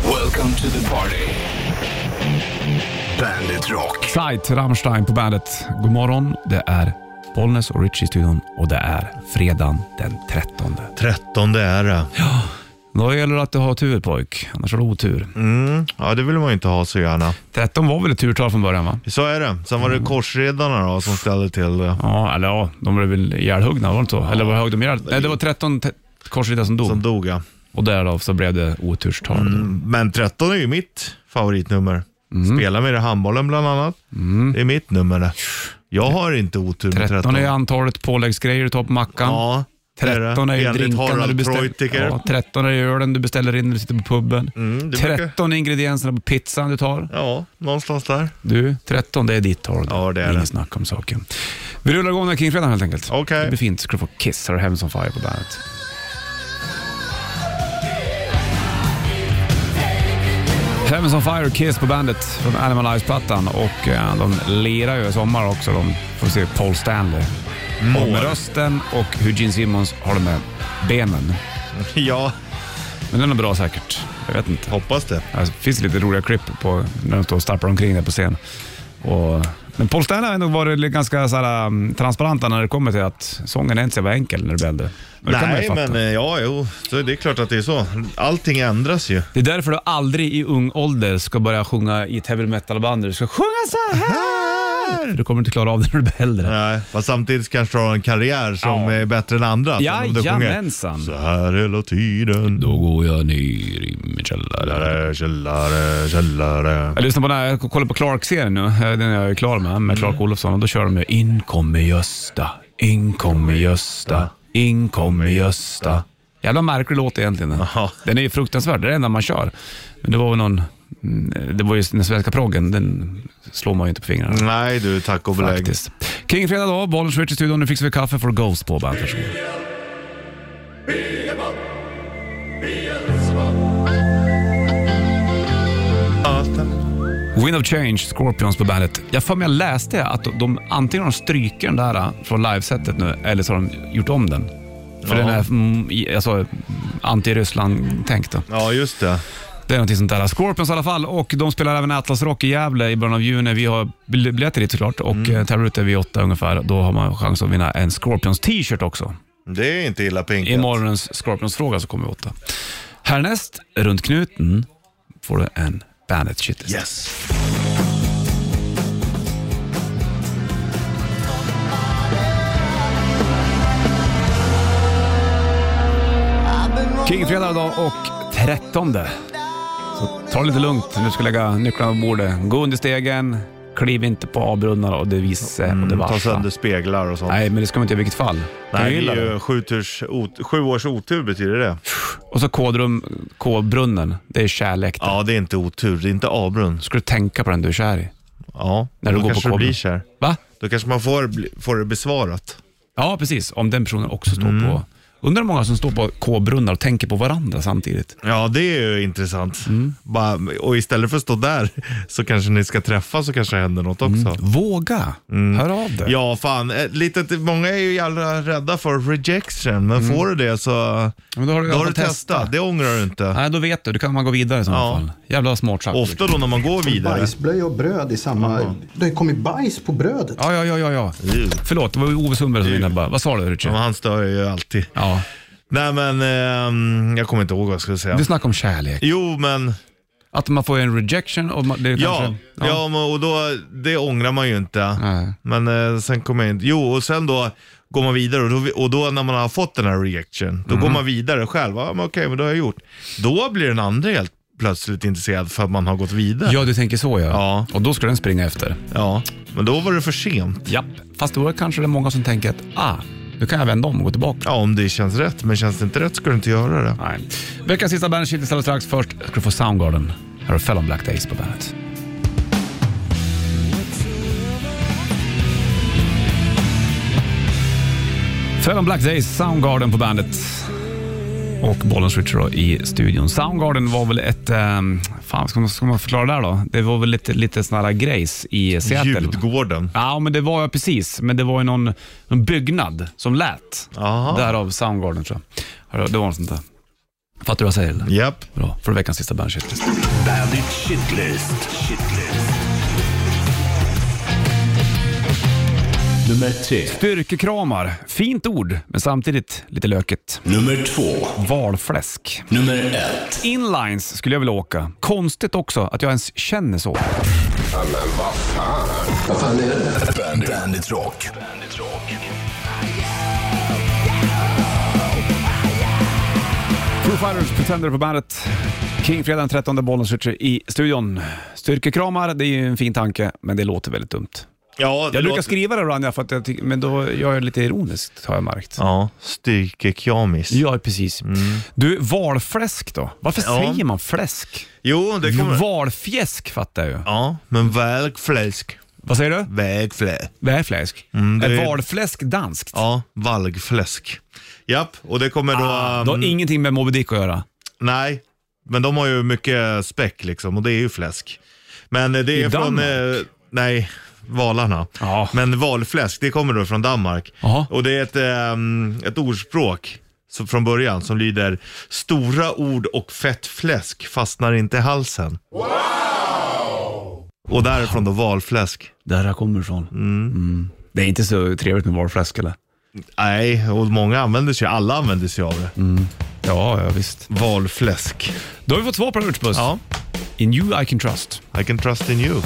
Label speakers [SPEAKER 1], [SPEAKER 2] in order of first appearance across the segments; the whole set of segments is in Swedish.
[SPEAKER 1] Welcome to the party. Bandit Rock.
[SPEAKER 2] Flight, Rammstein på bandet. God morgon, det är Bollnäs och Richie i studion och det är fredagen den 13.
[SPEAKER 3] 13 är det.
[SPEAKER 2] Då gäller det att du har tur pojk, annars har du otur.
[SPEAKER 3] Mm. Ja, det vill man ju inte ha så gärna.
[SPEAKER 2] 13 var väl ett turtal från början va?
[SPEAKER 3] Så är det. Sen var
[SPEAKER 2] Mm.
[SPEAKER 3] det korsriddarna då som ställde till det.
[SPEAKER 2] Ja, eller ja, de blev väl ihjälhuggna, var det inte så? Eller var högg de ihjäl? Nej, det var 13 te- korsriddare som dog Mm.
[SPEAKER 3] Som dog ja. Mm.
[SPEAKER 2] och därav så blev det Mm. oturstal.
[SPEAKER 3] Men 13 är ju mitt favoritnummer. Spelar med det i handbollen bland annat. Det är mitt nummer det. Jag har inte otur med
[SPEAKER 2] 13
[SPEAKER 3] 13.
[SPEAKER 2] Mm. är antalet påläggsgrejer du tar på mackan.
[SPEAKER 3] Ja, det är det.
[SPEAKER 2] 13 är ju
[SPEAKER 3] Enligt
[SPEAKER 2] drinkarna du
[SPEAKER 3] Harald
[SPEAKER 2] beställer.
[SPEAKER 3] Treutiger.
[SPEAKER 2] Ja, 13 är ju ölen du beställer in när du sitter på puben.
[SPEAKER 3] Mm, det brukar-
[SPEAKER 2] 13 är ingredienserna på pizzan du tar.
[SPEAKER 3] Ja, någonstans där.
[SPEAKER 2] Du, 13 det är ditt tal.
[SPEAKER 3] Ja, det är
[SPEAKER 2] Ingen
[SPEAKER 3] det.
[SPEAKER 2] snack om saken. Vi rullar igång den här kringfredagen helt enkelt.
[SPEAKER 3] Okej.
[SPEAKER 2] Det blir fint. Ska du få Kiss Her Heavens on Fire på bandet. Heavens on Fire och Kiss på bandet från Animal Eyes-plattan och eh, de lirar ju i sommar också. De får se Paul Stanley.
[SPEAKER 3] Mm.
[SPEAKER 2] Om rösten och hur Gene Simmons har det med benen.
[SPEAKER 3] Ja,
[SPEAKER 2] Men den är bra säkert. Jag vet inte.
[SPEAKER 3] hoppas det.
[SPEAKER 2] Ja, Det Alltså, finns lite roliga klipp på när de står och stapplar omkring där på scen. Och, men Paul Stanley har ändå varit lite ganska så här, um, transparenta när det kommer till att sången är inte så jävla enkel när du blir äldre. Men det kan man ju
[SPEAKER 3] Nej,
[SPEAKER 2] fatta.
[SPEAKER 3] men eh, ja, jo. Så det är klart att det är så. Allting ändras ju.
[SPEAKER 2] Det är därför du aldrig i ung ålder ska börja sjunga i ett heavy metal-band. Du ska sjunga så här. Du kommer inte klara av det när du blir äldre.
[SPEAKER 3] Nej, fast samtidigt kanske du har en karriär som
[SPEAKER 2] Ja.
[SPEAKER 3] är bättre än andra. om du sjunger
[SPEAKER 2] Jajamensan.
[SPEAKER 3] så här hela tiden.
[SPEAKER 2] Då går jag ner i min källare.
[SPEAKER 3] Källare, källare, källare.
[SPEAKER 2] Jag lyssnar på den här, jag kollar på Clark-serien nu. Eh, Den är jag ju klar med, med Clark Olofsson. Och då kör de ju In kommer Gösta, in kommer Gösta, in kommer Gösta. Jävla märklig låt egentligen.
[SPEAKER 3] Ja.
[SPEAKER 2] Den är ju fruktansvärd, det är det enda man kör. Men det var väl någon, mm, det var ju den svenska proggen, den slår man ju inte på fingrarna.
[SPEAKER 3] Nej du, tack och belägg.
[SPEAKER 2] Faktiskt. Kring fredag dag, Bollens Rich i studion. Nu fixar vi kaffe för Ghost på bandet. Varsågod. Wind of Change, Scorpions på bandet. Jag för mig jag läste att de, de antingen har de strykt den där äh, från livesetet nu eller så har de gjort om den. För
[SPEAKER 3] Ja.
[SPEAKER 2] den är mm, i- alltså, anti-Ryssland-tänkt då.
[SPEAKER 3] Ja, just det.
[SPEAKER 2] Det är någonting sånt där. Scorpions i alla fall och de spelar även Atlas Rock i Gävle i början av juni. Vi har bil- biljetter dit såklart och mm. tävlar ut det vid åtta ungefär. Då har man chans att vinna en Scorpions t-shirt också.
[SPEAKER 3] Det är inte illa pinkat.
[SPEAKER 2] I morgonens Scorpions-fråga så kommer vi åtta. Härnäst, runt knuten, får du en Bandet shitlist.
[SPEAKER 3] Yes.
[SPEAKER 2] Kingfredag idag och 13. Så ta det lite lugnt när du ska lägga nycklarna på bordet. Gå under stegen, kliv inte på avbrunnar och det visse och det
[SPEAKER 3] Mm, ta
[SPEAKER 2] varsa.
[SPEAKER 3] sönder speglar och sånt.
[SPEAKER 2] Nej, men det ska man inte i vilket fall. Kan du
[SPEAKER 3] Nej det
[SPEAKER 2] gilla
[SPEAKER 3] är
[SPEAKER 2] det?
[SPEAKER 3] ju sju, turs, ot, sju års otur betyder det.
[SPEAKER 2] Och så kodrum, K-brunnen, det är kärlek. det.
[SPEAKER 3] Ja, det är inte otur, det är inte avbrunn.
[SPEAKER 2] Ska du tänka på den du är kär i?
[SPEAKER 3] Ja,
[SPEAKER 2] När du
[SPEAKER 3] då
[SPEAKER 2] går på
[SPEAKER 3] kanske du
[SPEAKER 2] kabeln.
[SPEAKER 3] blir kär.
[SPEAKER 2] Va?
[SPEAKER 3] Då kanske man får, bli- får det besvarat.
[SPEAKER 2] Ja, precis. Om den personen också står
[SPEAKER 3] Mm.
[SPEAKER 2] på... Undrar hur många som står på K-brunnar och tänker på varandra samtidigt.
[SPEAKER 3] Ja, det är ju intressant.
[SPEAKER 2] Mm.
[SPEAKER 3] Bara, och istället för att stå där så kanske ni ska träffas så kanske det händer något också.
[SPEAKER 2] Våga! Hör av dig.
[SPEAKER 3] Mm. Ja, fan. eh, Lite, många är ju jävla rädda för rejection, men får du det så
[SPEAKER 2] Men Mm. då har du,
[SPEAKER 3] då har du
[SPEAKER 2] testat.
[SPEAKER 3] testat. Det ångrar du inte.
[SPEAKER 2] Nej, då vet du. Då kan man gå vidare i så
[SPEAKER 3] Ja.
[SPEAKER 2] fall. Jävla smart sagt.
[SPEAKER 3] Ofta då när man går vidare.
[SPEAKER 4] Bajsblöja och bröd i samma... Det kom ju bajs på brödet.
[SPEAKER 2] Ja, ja, ja, ja. ja.
[SPEAKER 3] Ew.
[SPEAKER 2] Förlåt, det var ju Ove Sundberg som var inne bara. Vad sa du,
[SPEAKER 3] Men
[SPEAKER 2] Richard?
[SPEAKER 3] han stör ju alltid.
[SPEAKER 2] Ja.
[SPEAKER 3] Nej men, ehm, jag kommer inte ihåg vad jag skulle säga.
[SPEAKER 2] Vi snackade om kärlek.
[SPEAKER 3] Jo men,
[SPEAKER 2] Att man får en rejection och man, det
[SPEAKER 3] ja.
[SPEAKER 2] kanske...
[SPEAKER 3] Ja, men, och då, det ångrar man ju inte.
[SPEAKER 2] Nej.
[SPEAKER 3] Men eh, sen kommer jag inte, jo och sen då går man vidare och då, och då när man har fått den här rejection, då går
[SPEAKER 2] Mm.
[SPEAKER 3] man vidare själv. Ja men okej, men det har jag gjort. Då blir den andra helt plötsligt intresserad för att man har gått vidare.
[SPEAKER 2] Ja, du tänker så ja.
[SPEAKER 3] Ja.
[SPEAKER 2] Och då ska den springa efter.
[SPEAKER 3] Ja, men då var det för sent.
[SPEAKER 2] Japp. Fast då är det kanske det är många som tänker att ah, nu kan jag vända om och gå tillbaka.
[SPEAKER 3] Ja, om det känns rätt, men känns det inte rätt ska du inte göra det.
[SPEAKER 2] Nej. Veckans sista bandet Shitty alldeles strax. Först ska du få Soundgarden. Här har du Fell on Black Days på bandet. Fell on Black Days, Soundgarden på bandet. Och Bollens Richard då i studion. Soundgarden var väl ett... ehm, fan, ska man, ska man förklara det här då? Det var väl lite, lite sån här grejs i Seattle.
[SPEAKER 3] Djurgården.
[SPEAKER 2] Ja, men det var jag precis. Men det var ju någon, någon byggnad som lät.
[SPEAKER 3] Aha.
[SPEAKER 2] Därav Soundgarden tror jag. Hörru, Det var något sånt där. Fattar du vad jag säger eller?
[SPEAKER 3] Japp.
[SPEAKER 2] Bra, för veckans sista band shitlist.
[SPEAKER 1] Bandit Shitlist. Shitlist. Nummer tre.
[SPEAKER 2] Styrkekramar. Fint ord, men samtidigt lite löket.
[SPEAKER 1] Nummer två.
[SPEAKER 2] Valfläsk.
[SPEAKER 1] Nummer ett.
[SPEAKER 2] Inlines skulle jag vilja åka. Konstigt också att jag ens känner så.
[SPEAKER 1] Bandit, Bandit Rock. Bandit Rock.
[SPEAKER 2] Foo Fighters, Pretender på bandet. Kring fredag den 13 bollen i studion. Styrkekramar, det är ju en fin tanke, men det låter väldigt dumt.
[SPEAKER 3] Ja, det
[SPEAKER 2] Jag brukar
[SPEAKER 3] låter...
[SPEAKER 2] skriva det ibland, ja, för att jag tycker- men då gör jag det lite ironiskt har jag märkt.
[SPEAKER 3] Ja, styrkekramis.
[SPEAKER 2] Ja, precis. Du, valfläsk då? Varför
[SPEAKER 3] Ja.
[SPEAKER 2] säger man fläsk?
[SPEAKER 3] Jo, det kommer...
[SPEAKER 2] Valfjäsk fattar jag ju.
[SPEAKER 3] Ja, men valgfläsk.
[SPEAKER 2] Vad säger du?
[SPEAKER 3] Vägflä.
[SPEAKER 2] Valfläsk?
[SPEAKER 3] det
[SPEAKER 2] Mm, är
[SPEAKER 3] är-
[SPEAKER 2] valfläsk danskt?
[SPEAKER 3] Ja, valgfläsk. Japp, och det kommer då...
[SPEAKER 2] Ah,
[SPEAKER 3] ehm,
[SPEAKER 2] det har ingenting med Moby Dick att göra.
[SPEAKER 3] Nej, men de har ju mycket späck liksom och det är ju fläsk. Men eh, det är från...
[SPEAKER 2] Danmark?
[SPEAKER 3] Eh, nej, valarna.
[SPEAKER 2] Ja.
[SPEAKER 3] Men valfläsk, det kommer då från Danmark.
[SPEAKER 2] Jaha.
[SPEAKER 3] Och det är ett, ehm, ett ordspråk som- från början som lyder Stora ord och fett fläsk fastnar inte i halsen. Wow! Och därifrån då valfläsk.
[SPEAKER 2] Där jag kommer ifrån. Mm. Det är inte så trevligt med valfläsk eller?
[SPEAKER 3] Nej, och många använder sig, alla använder sig av det.
[SPEAKER 2] Mm. Ja, ja visst.
[SPEAKER 3] Valfläsk.
[SPEAKER 2] Då har vi fått svar på den Urtsbuss.
[SPEAKER 3] Ja,
[SPEAKER 2] In you I can trust.
[SPEAKER 3] I can trust in you.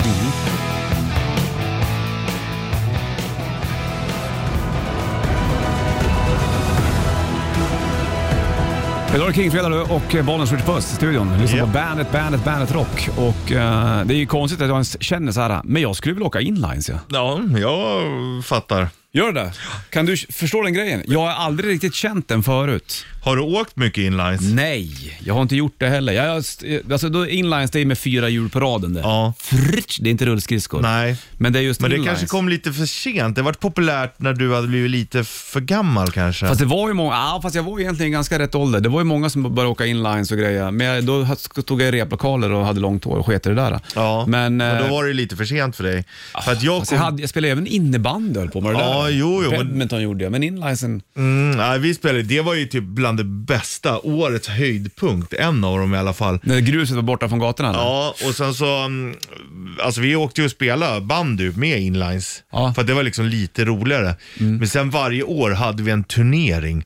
[SPEAKER 2] Idag är det kringfredag nu och Bollnäs Urtsbuss i studion. Lyssna
[SPEAKER 3] Japp.
[SPEAKER 2] på bandet, bandet, bandet rock. Och eh, det är ju konstigt att jag ens känner så här. men jag skulle vilja åka inlines ja.
[SPEAKER 3] Ja, jag fattar.
[SPEAKER 2] Gör det? Kan du förstå den grejen? Jag har aldrig riktigt känt den förut.
[SPEAKER 3] Har du åkt mycket inlines?
[SPEAKER 2] Nej, jag har inte gjort det heller. Jag, jag- alltså då inlines, det är med fyra hjul på raden det.
[SPEAKER 3] Ja.
[SPEAKER 2] Fritsch, det är inte rullskridskor.
[SPEAKER 3] Nej.
[SPEAKER 2] Men det är just
[SPEAKER 3] Men det
[SPEAKER 2] inlines.
[SPEAKER 3] kanske kom lite för sent. Det vart populärt när du hade blivit lite för gammal kanske.
[SPEAKER 2] Fast det var ju många, ja, fast jag var ju egentligen ganska rätt ålder. Det var ju många som började åka inlines och grejer. Men jag, då tog jag replokaler och hade långt hår och sket i det där.
[SPEAKER 3] ja.
[SPEAKER 2] Men,
[SPEAKER 3] men
[SPEAKER 2] eh,
[SPEAKER 3] då var det lite för sent för dig. För att jag
[SPEAKER 2] alltså, jag,
[SPEAKER 3] kom...
[SPEAKER 2] hade, jag spelade även innebandy höll på med det
[SPEAKER 3] Ja,
[SPEAKER 2] där.
[SPEAKER 3] jo, jo, men-
[SPEAKER 2] Badminton gjorde jag, men inlinesen...
[SPEAKER 3] mm, nej, vi spelade, det var ju typ bland det bästa, årets höjdpunkt. En av dem i alla fall.
[SPEAKER 2] När gruset var borta från gatorna? eller?
[SPEAKER 3] Ja, och sen så, mm, alltså vi åkte ju och spelade bandy med inlines.
[SPEAKER 2] Ja. Mm.
[SPEAKER 3] För att det var liksom lite roligare. Men sen varje år hade vi en turnering.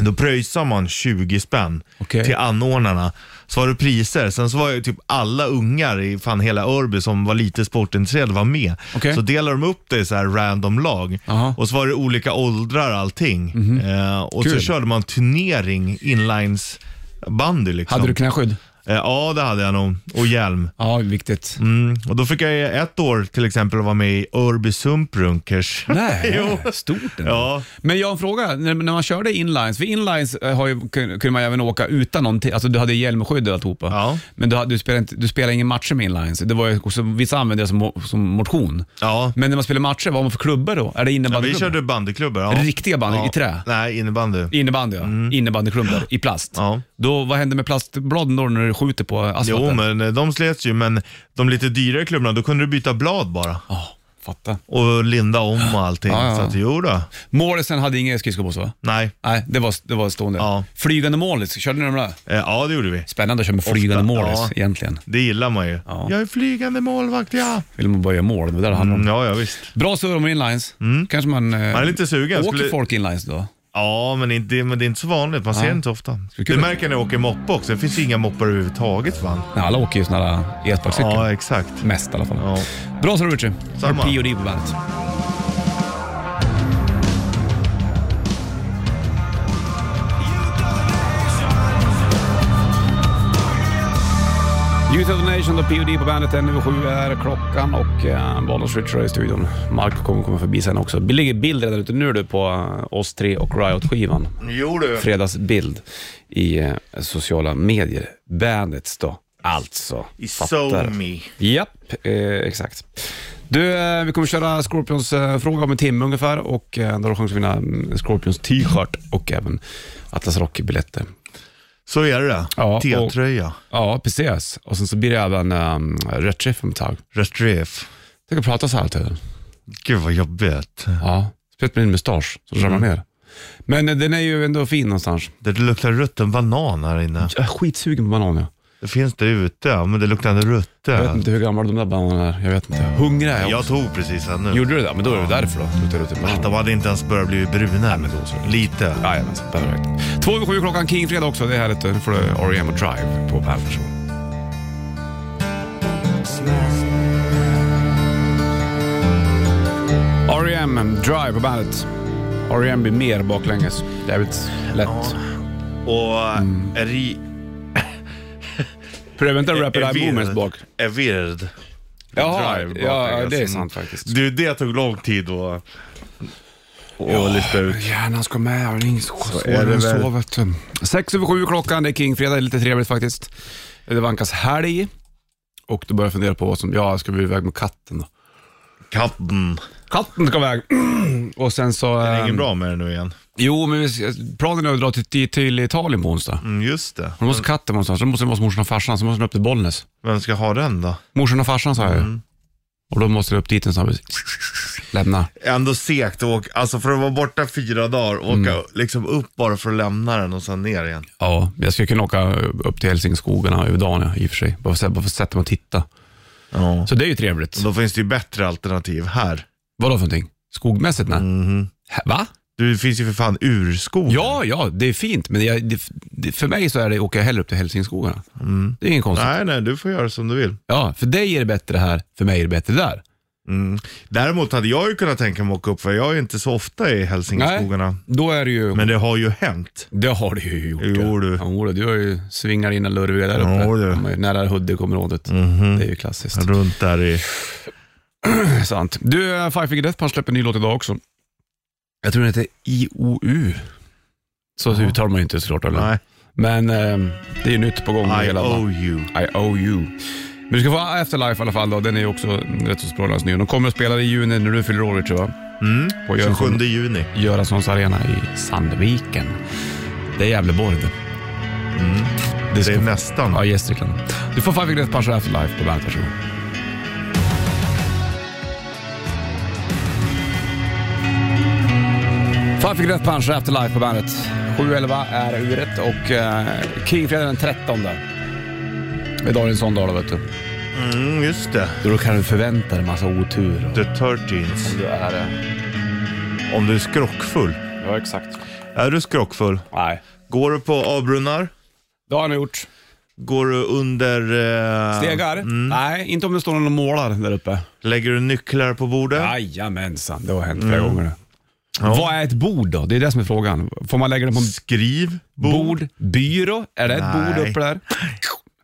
[SPEAKER 3] Då pröjsade man 20 spänn
[SPEAKER 2] Okej.
[SPEAKER 3] till anordnarna. Så var det priser. Sen så var ju typ alla ungar i fan hela Örby som var lite sportintresserade var med.
[SPEAKER 2] Okej.
[SPEAKER 3] Så delade de upp det i så här random lag.
[SPEAKER 2] Aha. Mhm.
[SPEAKER 3] Och så var det olika åldrar allting. Eh, och så
[SPEAKER 2] Kul.
[SPEAKER 3] körde man turnering inlines bandy liksom.
[SPEAKER 2] Hade du knäskydd?
[SPEAKER 3] Eh, Ja, det hade jag nog. Och hjälm.
[SPEAKER 2] Ja, viktigt.
[SPEAKER 3] Mm. Och då fick jag ett år till exempel vara med i Örby Sumprunkers.
[SPEAKER 2] Nej,
[SPEAKER 3] Jo.
[SPEAKER 2] stort ändå.
[SPEAKER 3] Ja.
[SPEAKER 2] Men jag har en fråga, när, när man körde inlines, för inlines eh, har ju, kun- kunde man ju även åka utan någonting, alltså du hade hjälmskydd och alltihopa.
[SPEAKER 3] Ja.
[SPEAKER 2] Men du, hade- du, spelade inte, du spelade ingen matcher med inlines, det var ju, också, vissa använde det som, mo- som motion.
[SPEAKER 3] Ja.
[SPEAKER 2] Men när man spelar matcher, vad har man för klubbar då? Är det
[SPEAKER 3] ja,
[SPEAKER 2] innebandyklubbor?
[SPEAKER 3] vi körde bandyklubbor. Ja.
[SPEAKER 2] Riktiga bandy, i trä?
[SPEAKER 3] Nej, innebandy.
[SPEAKER 2] Innebandy ja, innebandyklubbor i plast.
[SPEAKER 3] Mm. Ja.
[SPEAKER 2] Då, vad händer med plastbladen då när du skjuter på asfalten?
[SPEAKER 3] Jo, men eh, de slets ju, men de lite dyrare klubborna, då kunde du byta blad bara.
[SPEAKER 2] Ja, fatta.
[SPEAKER 3] Och linda om och allting.
[SPEAKER 2] Ja, ja,
[SPEAKER 3] Så
[SPEAKER 2] ja.
[SPEAKER 3] att, jo då.
[SPEAKER 2] Målisen hade inga skridskobås va?
[SPEAKER 3] Nej.
[SPEAKER 2] Nej, det var, det var stående.
[SPEAKER 3] Ja.
[SPEAKER 2] Flygande målis, körde ni de där?
[SPEAKER 3] Eh, Ja, det gjorde vi.
[SPEAKER 2] Spännande att köra med flygande
[SPEAKER 3] Ofta,
[SPEAKER 2] målis
[SPEAKER 3] ja.
[SPEAKER 2] egentligen.
[SPEAKER 3] Det gillar man ju.
[SPEAKER 2] Ja.
[SPEAKER 3] Jag är flygande målvakt, ja.
[SPEAKER 2] Vill man bara göra mål, det var där det handlar om.
[SPEAKER 3] Mm, ja, ja visst.
[SPEAKER 2] Bra surr om inlines. Kanske man... Man
[SPEAKER 3] är lite sugen.
[SPEAKER 2] Åker
[SPEAKER 3] Skulle-
[SPEAKER 2] folk inlines då?
[SPEAKER 3] Ja, men, inte, men det är inte så vanligt. Man ser det inte så ofta.
[SPEAKER 2] kul.
[SPEAKER 3] Du märker när jag åker moppe också. Det finns ju inga moppar överhuvudtaget, va?
[SPEAKER 2] Nej, alla åker ju såna där elsparkcyklar.
[SPEAKER 3] Ja, exakt.
[SPEAKER 2] Mest i alla fall.
[SPEAKER 3] Ja.
[SPEAKER 2] Bra surr Richie. Har
[SPEAKER 3] Samma.
[SPEAKER 2] P.O.D. på bandet. Youth of the Nation och P.O.D. på bandet. En över sju är klockan och eh, Bonus Richard är i studion. Marco kommer komma förbi sen också. Det ligger bild redan ute nu du på eh, oss tre och Riot-skivan.
[SPEAKER 3] Jo du.
[SPEAKER 2] Fredagsbild i eh, sociala medier. Bandits då, alltså.
[SPEAKER 3] I
[SPEAKER 2] Fattar.
[SPEAKER 3] SoMe.
[SPEAKER 2] Japp, eh, exakt. Du, eh, vi kommer köra Scorpions-fråga om en timme ungefär och eh, då har du chans att vinna mm, Scorpions t-shirt och även Atlas Rock-biljetter.
[SPEAKER 3] Så är det.
[SPEAKER 2] Ja,
[SPEAKER 3] T-tröja.
[SPEAKER 2] Ja, precis. Och sen så blir det även um, rätt träff om ett tag.
[SPEAKER 3] Retrief.
[SPEAKER 2] Tänk att prata så här hela tiden.
[SPEAKER 3] Gud vad jobbigt.
[SPEAKER 2] Ja, speciellt med din mustasch, så ramlar ner. Men eh, den är ju ändå fin någonstans.
[SPEAKER 3] Det luktar rutten banan här inne.
[SPEAKER 2] Jag är skitsugen på banan ja.
[SPEAKER 3] Det finns det ute, ja, men det luktar en
[SPEAKER 2] Jag vet
[SPEAKER 3] rutten.
[SPEAKER 2] inte hur gamla de där bananerna är. Jag vet inte. Hungrig är jag.
[SPEAKER 3] Jag tog precis en nu.
[SPEAKER 2] Gjorde du det? Men då är det därför då. Luktar det till banan.
[SPEAKER 3] De hade inte ens börjat bli bruna. Lite.
[SPEAKER 2] Jajamensan, perfekt. Två över sju klockan, Kingfredag också. Det är härligt. Nu får du R.E.M. och Drive på Bandet Show. R.E.M. E Drive på Bandet. R.E.M. blir mer baklänges. Jävligt lätt.
[SPEAKER 3] Och
[SPEAKER 2] Mm.
[SPEAKER 3] är ri...
[SPEAKER 2] Pröva inte Rapid
[SPEAKER 3] är
[SPEAKER 2] Eye
[SPEAKER 3] virrd.
[SPEAKER 2] Movements bak.
[SPEAKER 3] Är virrd.
[SPEAKER 2] Jaha,
[SPEAKER 3] Drive
[SPEAKER 2] ja,
[SPEAKER 3] baklänges.
[SPEAKER 2] det är sant faktiskt.
[SPEAKER 3] Du, det tog lång tid att att lista ut.
[SPEAKER 2] Hjärnan ska med, jag har inget så
[SPEAKER 3] är det
[SPEAKER 2] än
[SPEAKER 3] väl.
[SPEAKER 2] så vet du. Sex över sju klockan, det är Kingfredag, det är lite trevligt faktiskt. Det vankas helg och då börjar jag fundera på vad som, ja, ska vi iväg med katten då?
[SPEAKER 3] Katten.
[SPEAKER 2] Katten ska iväg! och sen så...
[SPEAKER 3] Det är
[SPEAKER 2] ehm,
[SPEAKER 3] inget bra med det nu igen.
[SPEAKER 2] Jo, men vi- planen är att dra till, till Italien på onsdag.
[SPEAKER 3] Mm, just det.
[SPEAKER 2] Då måste katten någonstans, då måste den vara hos morsan och farsan, så måste den upp till Bollnäs.
[SPEAKER 3] Vem ska ha den då?
[SPEAKER 2] Morsan och farsan sa jag ju.
[SPEAKER 3] Mm.
[SPEAKER 2] Och då måste den upp dit en snabbis. Lämna.
[SPEAKER 3] Ändå segt att åka, alltså för att vara borta fyra dagar, åka
[SPEAKER 2] Mm.
[SPEAKER 3] liksom upp bara för att lämna den och sen ner igen.
[SPEAKER 2] Ja, jag skulle kunna åka upp till Hälsingskogarna över dagen ja, i och för sig. Bara för att- bara för att sätta mig och titta.
[SPEAKER 3] Ja.
[SPEAKER 2] Så det är ju trevligt.
[SPEAKER 3] Då finns det ju bättre alternativ här.
[SPEAKER 2] Vadå för någonting? Skogmässigt? Nej.
[SPEAKER 3] Mhm.
[SPEAKER 2] Hä- Va?
[SPEAKER 3] Det finns ju för fan urskog.
[SPEAKER 2] Ja, ja, det är fint, men jag, det, det, för mig så är det, åker jag hellre upp till Hälsingskogarna. Det är ingen konstigt.
[SPEAKER 3] Mm. Nej, nej, du får göra som du vill.
[SPEAKER 2] Ja, för dig är det bättre här, för mig är det bättre där.
[SPEAKER 3] Mm. Däremot hade jag ju kunnat tänka mig att åka upp, för jag är inte så ofta i Hälsingskogarna.
[SPEAKER 2] Då är det ju...
[SPEAKER 3] Men det har ju hänt.
[SPEAKER 2] det har du ju gjort.
[SPEAKER 3] Jo, du.
[SPEAKER 2] Ja, Jodå, du har ju svingar in en lurviga där uppe.
[SPEAKER 3] Jo, du.
[SPEAKER 2] Kommer ju Nära Hudikområdet.
[SPEAKER 3] Mhm.
[SPEAKER 2] Det är ju klassiskt.
[SPEAKER 3] Runt där i...
[SPEAKER 2] Sant. Du, eh, Five Finger Death Punch släpper en ny låt idag också. Jag tror den heter IOU. Så uttalar man ju inte såklart, eller?
[SPEAKER 3] Nej,
[SPEAKER 2] Men ehm, det är ju nytt på gång. med
[SPEAKER 3] I
[SPEAKER 2] hela
[SPEAKER 3] owe you.
[SPEAKER 2] I owe you. Men du ska få Afterlife i alla fall då. Den är ju också rätt så språlans ny. De kommer att spela i juni när du fyller år tror jag.
[SPEAKER 3] Mm.
[SPEAKER 2] På Göranssons-
[SPEAKER 3] 27 juni.
[SPEAKER 2] Göranssons arena i Sandviken. Det är Gävleborg det. Det,
[SPEAKER 3] Det
[SPEAKER 2] ska...
[SPEAKER 3] är nästan.
[SPEAKER 2] Ja, Gästrikland. Du får Five Finger Death Punch och Afterlife på bandet. Varsågod. Five Finger Death Punch och Afterlife på bandet. 7.11 är uret och uh, Kingfredag den 13. Idag är det en sån dag då vet du.
[SPEAKER 3] Mm, just det.
[SPEAKER 2] Då kan du förvänta dig en massa otur.
[SPEAKER 3] The 13s.
[SPEAKER 2] Du är...
[SPEAKER 3] Om du är skrockfull.
[SPEAKER 2] Ja, exakt.
[SPEAKER 3] Är du skrockfull?
[SPEAKER 2] Nej.
[SPEAKER 3] Går du på avbrunnar?
[SPEAKER 2] Det har han gjort.
[SPEAKER 3] Går du under... Eh,
[SPEAKER 2] Stegar? Nej, inte om det står någon och målar där uppe.
[SPEAKER 3] Lägger du nycklar på bordet?
[SPEAKER 2] Jajamensan, det har hänt flera gånger nu. Vad är ett bord då? Det är det som är frågan. Får man lägga det på en
[SPEAKER 3] Skriv bord?
[SPEAKER 2] bord? Byrå? Är det ett
[SPEAKER 3] Nej.
[SPEAKER 2] bord uppe där?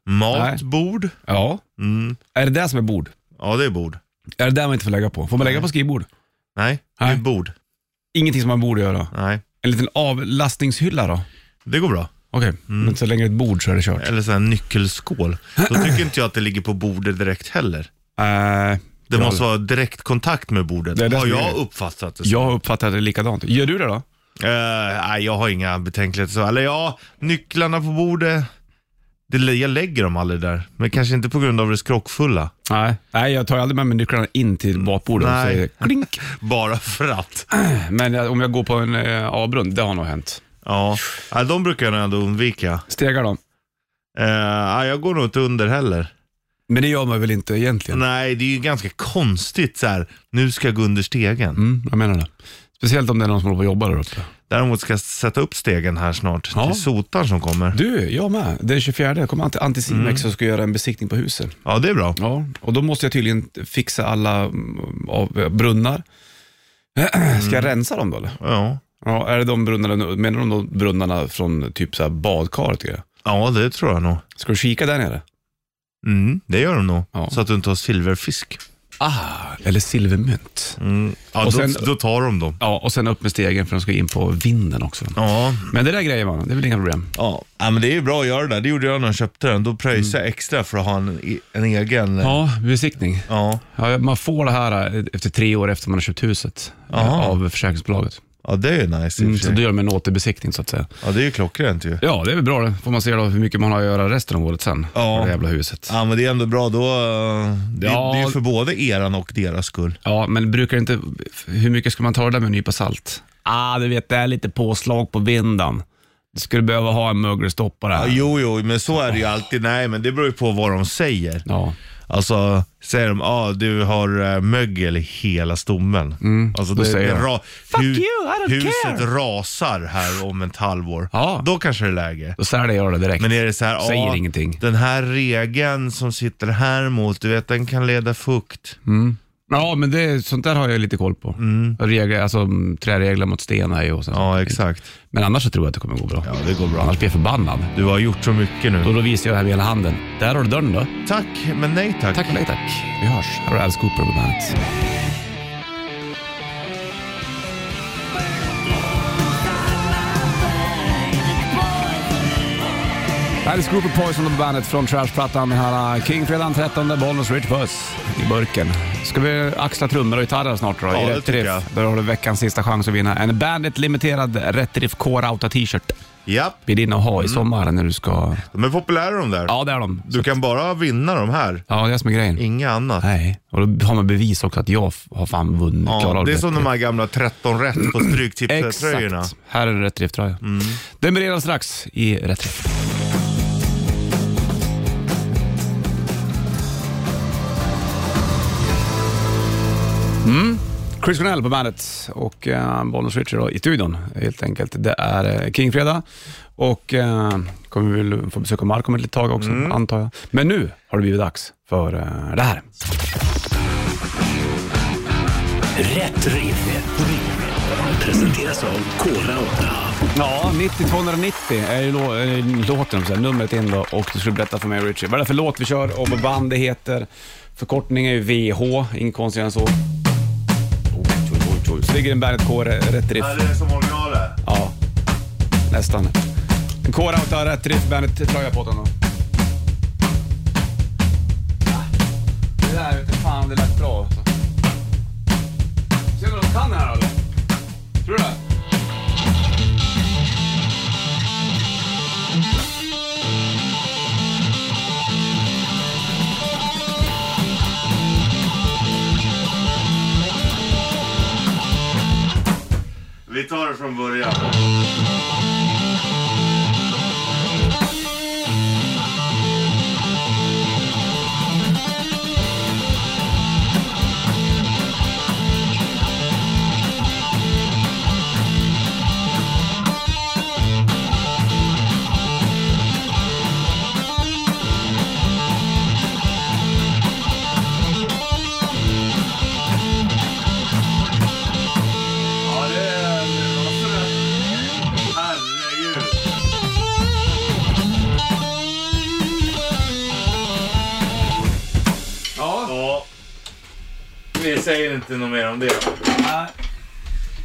[SPEAKER 3] Matbord?
[SPEAKER 2] Ja. Är det det som är bord?
[SPEAKER 3] Ja, det är bord.
[SPEAKER 2] Är det där man inte får lägga på? Får man lägga på skrivbord?
[SPEAKER 3] Nej, det
[SPEAKER 2] Nej.
[SPEAKER 3] är bord.
[SPEAKER 2] Ingenting som man borde göra.
[SPEAKER 3] Nej,
[SPEAKER 2] En liten avlastningshylla då?
[SPEAKER 3] det går bra.
[SPEAKER 2] Okej, men så länge det är ett bord så är det kört.
[SPEAKER 3] Eller så här nyckelskål. Då tycker inte jag att det ligger på bordet direkt heller.
[SPEAKER 2] Nej.
[SPEAKER 3] Det måste vara direktkontakt med bordet,
[SPEAKER 2] Det är det
[SPEAKER 3] har
[SPEAKER 2] som
[SPEAKER 3] jag
[SPEAKER 2] är-
[SPEAKER 3] uppfattat det som.
[SPEAKER 2] Jag uppfattar det likadant. Gör du det då?
[SPEAKER 3] Eh, nej, jag har inga betänkligheter. så. Eller ja, nycklarna på bordet. Det, jag lägger dem aldrig där. Men kanske inte på grund av det skrockfulla.
[SPEAKER 2] Nej. Mm. Nej, jag tar aldrig med mig nycklarna in till matbordet och
[SPEAKER 3] Nej.
[SPEAKER 2] säger klink.
[SPEAKER 3] Bara för att.
[SPEAKER 2] Men jag, om jag går på en eh, avbrunn, det har nog hänt.
[SPEAKER 3] Ja, nej, de brukar jag nog ändå undvika.
[SPEAKER 2] Stegar då?
[SPEAKER 3] Eh, nej, jag går nog inte under heller.
[SPEAKER 2] Men det gör man väl inte egentligen?
[SPEAKER 3] Nej, det är ju ganska konstigt så här. nu ska jag gå under stegen.
[SPEAKER 2] Mm, jag menar det. Speciellt om det är någon som håller på och jobbar där uppe.
[SPEAKER 3] Däremot ska jag sätta upp stegen här snart.
[SPEAKER 2] Ja.
[SPEAKER 3] Det är sotaren som kommer.
[SPEAKER 2] Du, jag med. Den 24 kommer Ant- Anticimex och ska göra en besiktning på huset.
[SPEAKER 3] Ja, det är bra.
[SPEAKER 2] Mm. Ja, och då måste jag tydligen fixa alla mm, av, eh, brunnar. Ska jag rensa dem då eller?
[SPEAKER 3] Ja,
[SPEAKER 2] Ja, är det de brunnarna, nu- menar de de brunnarna från typ så här badkaret? och grejer?
[SPEAKER 3] ja det tror jag nog.
[SPEAKER 2] Ska du kika där nere?
[SPEAKER 3] Mm, det gör de nog.
[SPEAKER 2] Ja.
[SPEAKER 3] Så att du inte har silverfisk.
[SPEAKER 2] Ah, eller silvermynt.
[SPEAKER 3] Mm. Ja,
[SPEAKER 2] Och
[SPEAKER 3] då,
[SPEAKER 2] sen-
[SPEAKER 3] då tar de dem.
[SPEAKER 2] Ja, och sen upp med stegen för de ska in på vinden också.
[SPEAKER 3] Ja.
[SPEAKER 2] Men det där grejer man, det är väl inga problem.
[SPEAKER 3] Ja. ja, men det är ju bra att göra det där. Det gjorde jag när jag köpte den. Då pröjsade jag extra för att ha en, e- en egen.
[SPEAKER 2] Mm. Ja, besiktning.
[SPEAKER 3] Ja.
[SPEAKER 2] Ja, man får det här eh, efter tre år efter man har köpt huset eh,
[SPEAKER 3] Aha.
[SPEAKER 2] av försäkringsbolaget.
[SPEAKER 3] ja, det är ju nice i och
[SPEAKER 2] Mm,
[SPEAKER 3] för
[SPEAKER 2] så då
[SPEAKER 3] sig.
[SPEAKER 2] gör de en återbesiktning så att säga.
[SPEAKER 3] Ja, det är ju klockrent ju.
[SPEAKER 2] Ja, det är väl bra det. Får man se då hur mycket man har att göra resten av året sen.
[SPEAKER 3] Ja.
[SPEAKER 2] för Det jävla huset.
[SPEAKER 3] Ja, men det är ändå bra då. eh, Det,
[SPEAKER 2] Ja.
[SPEAKER 3] det är ju för både eran och deras skull.
[SPEAKER 2] Ja, men brukar inte... Hur mycket ska man ta det där med en nypa salt? ah, du vet, det är lite påslag på vinden. Du skulle behöva ha en mögelstoppare.
[SPEAKER 3] Ja,
[SPEAKER 2] här.
[SPEAKER 3] jo, jo, men så är det ju alltid. Nej, men det beror ju på vad de säger.
[SPEAKER 2] Ja.
[SPEAKER 3] Alltså, säger de ah, du har eh, mögel i hela stommen. alltså,
[SPEAKER 2] Mm. då säger de,
[SPEAKER 3] Fuck
[SPEAKER 2] you, I don't
[SPEAKER 3] Huset
[SPEAKER 2] care."
[SPEAKER 3] rasar här om ett halvår.
[SPEAKER 2] Ja.
[SPEAKER 3] Då kanske det är läge.
[SPEAKER 2] Då säljer jag det direkt.
[SPEAKER 3] Men är det så här,
[SPEAKER 2] Säger
[SPEAKER 3] ah,
[SPEAKER 2] ingenting.
[SPEAKER 3] den här regeln som sitter här mot, du vet den kan leda fukt.
[SPEAKER 2] Mm. Ja, men det, sånt där har jag lite koll på. Regler, alltså mm, träregler mot stenar ju och sånt.
[SPEAKER 3] Ja, exakt.
[SPEAKER 2] Men annars så tror jag att det kommer gå bra.
[SPEAKER 3] Ja, det går bra.
[SPEAKER 2] Annars blir jag förbannad.
[SPEAKER 3] Du har gjort så mycket nu.
[SPEAKER 2] Då, då visar jag här med hela handen. Där har du dörren då.
[SPEAKER 3] Tack, men nej tack.
[SPEAKER 2] Tack och nej tack. Vi hörs. Här har Alice Cooper på bandet. Alice Cooper Poison på bandet från Trashplattan. Den här äh, King fredagen 13, Bollnäs Rich Puss i burken. Ska vi axla trummor och gitarrer snart då?
[SPEAKER 3] Ja,
[SPEAKER 2] I
[SPEAKER 3] det
[SPEAKER 2] rätt
[SPEAKER 3] tycker
[SPEAKER 2] riff.
[SPEAKER 3] jag.
[SPEAKER 2] Där har du veckans sista chans att vinna en Bandit limiterad Rätt Riff Core Outa t-shirt.
[SPEAKER 3] Japp,
[SPEAKER 2] Blir din att ha i sommar när du ska...
[SPEAKER 3] de är populära de där.
[SPEAKER 2] Ja, det är de.
[SPEAKER 3] Du kan bara vinna de här,
[SPEAKER 2] Ja, det är det som är grejen.
[SPEAKER 3] inga annat.
[SPEAKER 2] Nej, och då har man bevis också att jag f- har fan vunnit.
[SPEAKER 3] Ja,
[SPEAKER 2] klarat
[SPEAKER 3] det är som de
[SPEAKER 2] bättre.
[SPEAKER 3] här gamla 13 rätt på Stryktipset-tröjorna.
[SPEAKER 2] Exakt. Här är det Rätt Riff-tröja.
[SPEAKER 3] Mm.
[SPEAKER 2] Den blir redan strax i Rätt Riff. Mm. Chris Cornell på bandet och eh, Bollnäs Richard då, i studion helt enkelt. Det är eh, Kingfredag och eh, kommer vi väl få besöka Marco om ett litet tag också,
[SPEAKER 3] Mm.
[SPEAKER 2] antar jag. Men nu har det blivit dags för eh, det här.
[SPEAKER 1] Rätt riff. Presenteras av Kora 8.
[SPEAKER 2] Ja, 90-290 är ju lå- eh, låten, så här, numret in då. Och du skulle berätta för mig Richie, vad är det för låt vi kör och vad band det heter. Förkortning är ju VH, inget konstigare än så. Oj, oj, oj, oj. Så ligger en bandet K, rätt riff.
[SPEAKER 3] det är som originalet.
[SPEAKER 2] Ja, nästan. Kåra och ta rätt riff, bandet tröja på honom. Det där vete fan, det lät bra alltså. Ser du vad de kan här eller? Tror du det?
[SPEAKER 3] Vi tar det från början. Ja, det är massor Herregud.
[SPEAKER 2] Ja.
[SPEAKER 3] Ja. Vi säger inte något mer om det.
[SPEAKER 2] Nej,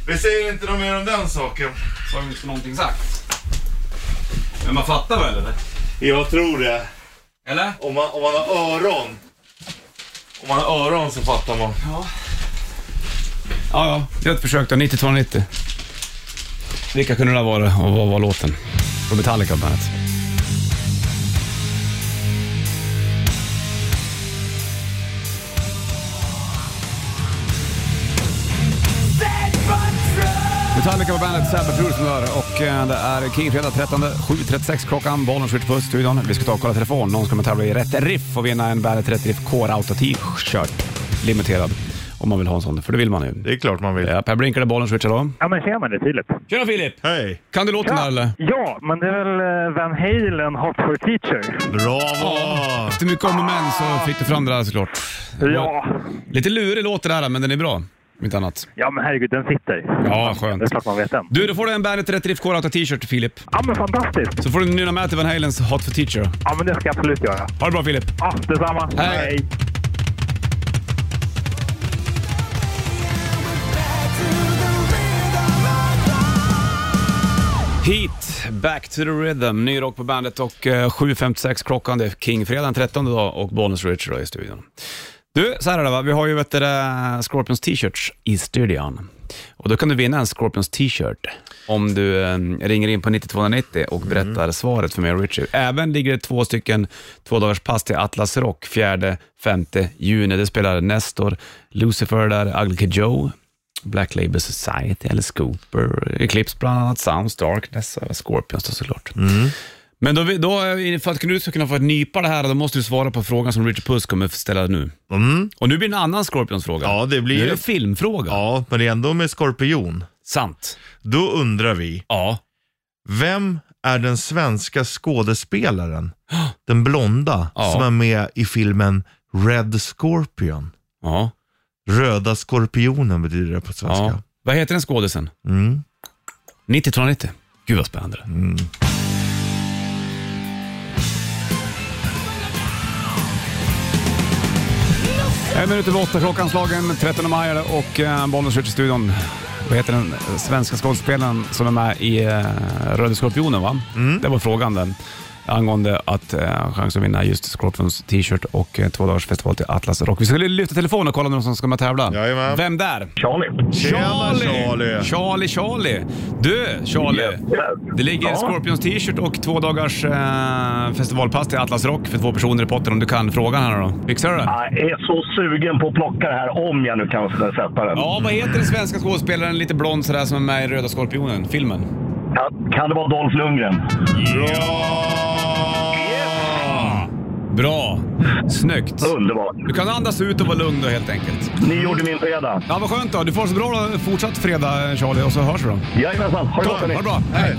[SPEAKER 3] Vi säger inte något mer om den saken.
[SPEAKER 2] så har vi inte någonting sagt. Men man fattar väl eller?
[SPEAKER 3] Jag tror det.
[SPEAKER 2] Eller?
[SPEAKER 3] Om man, om man har öron. Om man har öron så fattar man.
[SPEAKER 2] Ja, ja. Gör ett försök då. 9290. Vilka kunde det ha varit och vad var låten? Från Metallica bland annat. Metallica på bandet, Sabbath Rules som du hör och eh, det är King fredag 13, 7.36 klockan. Bollen skjuter på studion. Vi ska ta och kolla telefon. Någon ska man tävla i rätt riff och vinna en Bandet Rätt Riff Core Auto T-shirt. Limiterad. Om man vill ha en sån, för det vill man ju.
[SPEAKER 3] Det är klart man vill.
[SPEAKER 2] Ja, Per Brinker där bollen switchar då.
[SPEAKER 5] Ja, men ser man det tydligt?
[SPEAKER 2] Tjena Filip!
[SPEAKER 3] Hej!
[SPEAKER 2] Kan du låten där eller?
[SPEAKER 5] ja, men det är väl eh, Van Halen, Hot for Teacher.
[SPEAKER 3] Bravo!
[SPEAKER 2] Efter mycket om och men så fick du fram det där såklart.
[SPEAKER 5] Ja,
[SPEAKER 2] Lite lurig låt det där men den är bra. Om inte annat.
[SPEAKER 5] ja men herregud, den sitter.
[SPEAKER 2] Ja,
[SPEAKER 5] Det är
[SPEAKER 2] skönt.
[SPEAKER 5] klart man vet den.
[SPEAKER 2] Du, då får du en Bandet Rätt Riff Core Auto T-shirt Filip.
[SPEAKER 5] Ja, men fantastiskt!
[SPEAKER 2] Så får du nynna med till Van Halens Hot for Teacher.
[SPEAKER 5] Ja, men det ska jag absolut göra.
[SPEAKER 2] Ha det bra Filip!
[SPEAKER 5] Ja, detsamma.
[SPEAKER 2] Hej. Heat, Back to the Rhythm, ny rock på bandet och eh, 7.56 klockan. Det är King-fredagen 13 dag och Bonus Richard då i studion. Du, så här är det va. Vi har ju vet du, det, Scorpions t-shirts i studion. Och då kan du vinna en Scorpions t-shirt om du eh, ringer in på 9290 och berättar svaret för mig och Richard. Även ligger det två stycken två dagars pass till Atlas Rock 4-5 juni. Det spelar Nestor, Lucifer där, Ugly Kid Joe Black Label Society, Alice Cooper, Eclipse bland annat, Sounds, Darkness, även Scorpions då såklart.
[SPEAKER 3] Mm.
[SPEAKER 2] Men då, vi- då, är- för att du ska kunna få ett nypa det här, då måste du svara på frågan som Richard Puss kommer ställa nu.
[SPEAKER 3] Mm.
[SPEAKER 2] Och nu blir det en annan Scorpions-fråga.
[SPEAKER 3] Ja, det blir
[SPEAKER 2] Nu är det
[SPEAKER 3] ju-
[SPEAKER 2] en filmfråga.
[SPEAKER 3] Ja, men det är ändå med skorpion.
[SPEAKER 2] Sant.
[SPEAKER 3] Då undrar vi,
[SPEAKER 2] Ja.
[SPEAKER 3] vem är den svenska skådespelaren, den blonda,
[SPEAKER 2] Ja.
[SPEAKER 3] som är med i filmen Red Scorpion?
[SPEAKER 2] Ja.
[SPEAKER 3] Röda skorpionen betyder det på
[SPEAKER 2] ja.
[SPEAKER 3] svenska.
[SPEAKER 2] Vad heter den skådisen?
[SPEAKER 3] Mm.
[SPEAKER 2] 90-290. Gud vad spännande. En minut över åtta, klockanslagen 13 maj är det och eh, Bollnäs i studion. Vad heter den svenska skådespelaren som är med i eh, Röde Skorpionen? Va?
[SPEAKER 3] Mm.
[SPEAKER 2] Det var frågan den. Angående att eh, chans att vinna just Scorpions t-shirt och eh, två dagars festival till Atlas Rock. Vi skulle lyfta telefonen och kolla om det är någon som ska med och tävla.
[SPEAKER 3] Jajamän.
[SPEAKER 2] Vem där?
[SPEAKER 5] Charlie.
[SPEAKER 3] Tjena Charlie!
[SPEAKER 2] Charlie, Charlie. Du, Charlie. Det ligger Scorpions t-shirt och två dagars eh, festivalpass till Atlas Rock för två personer i potten om du kan frågan här då. Fixar du det?
[SPEAKER 6] Jag är så sugen på att plocka det här om jag nu kan sätta den.
[SPEAKER 2] Ja, vad heter den svenska skådespelaren, lite blond sådär, som är med i Röda Skorpionen, filmen?
[SPEAKER 6] Kan- Kan det vara Dolph Lundgren?
[SPEAKER 2] Bra! Snyggt!
[SPEAKER 6] Underbart.
[SPEAKER 2] Du kan andas ut och vara lugn då helt enkelt.
[SPEAKER 6] Ni gjorde min fredag.
[SPEAKER 2] Ja, vad skönt då. Du får så bra då. fortsatt fredag Charlie och så hörs vi då.
[SPEAKER 6] Jajamensan. Ha det gott
[SPEAKER 2] Ha
[SPEAKER 6] hörni.
[SPEAKER 2] det bra. Hej!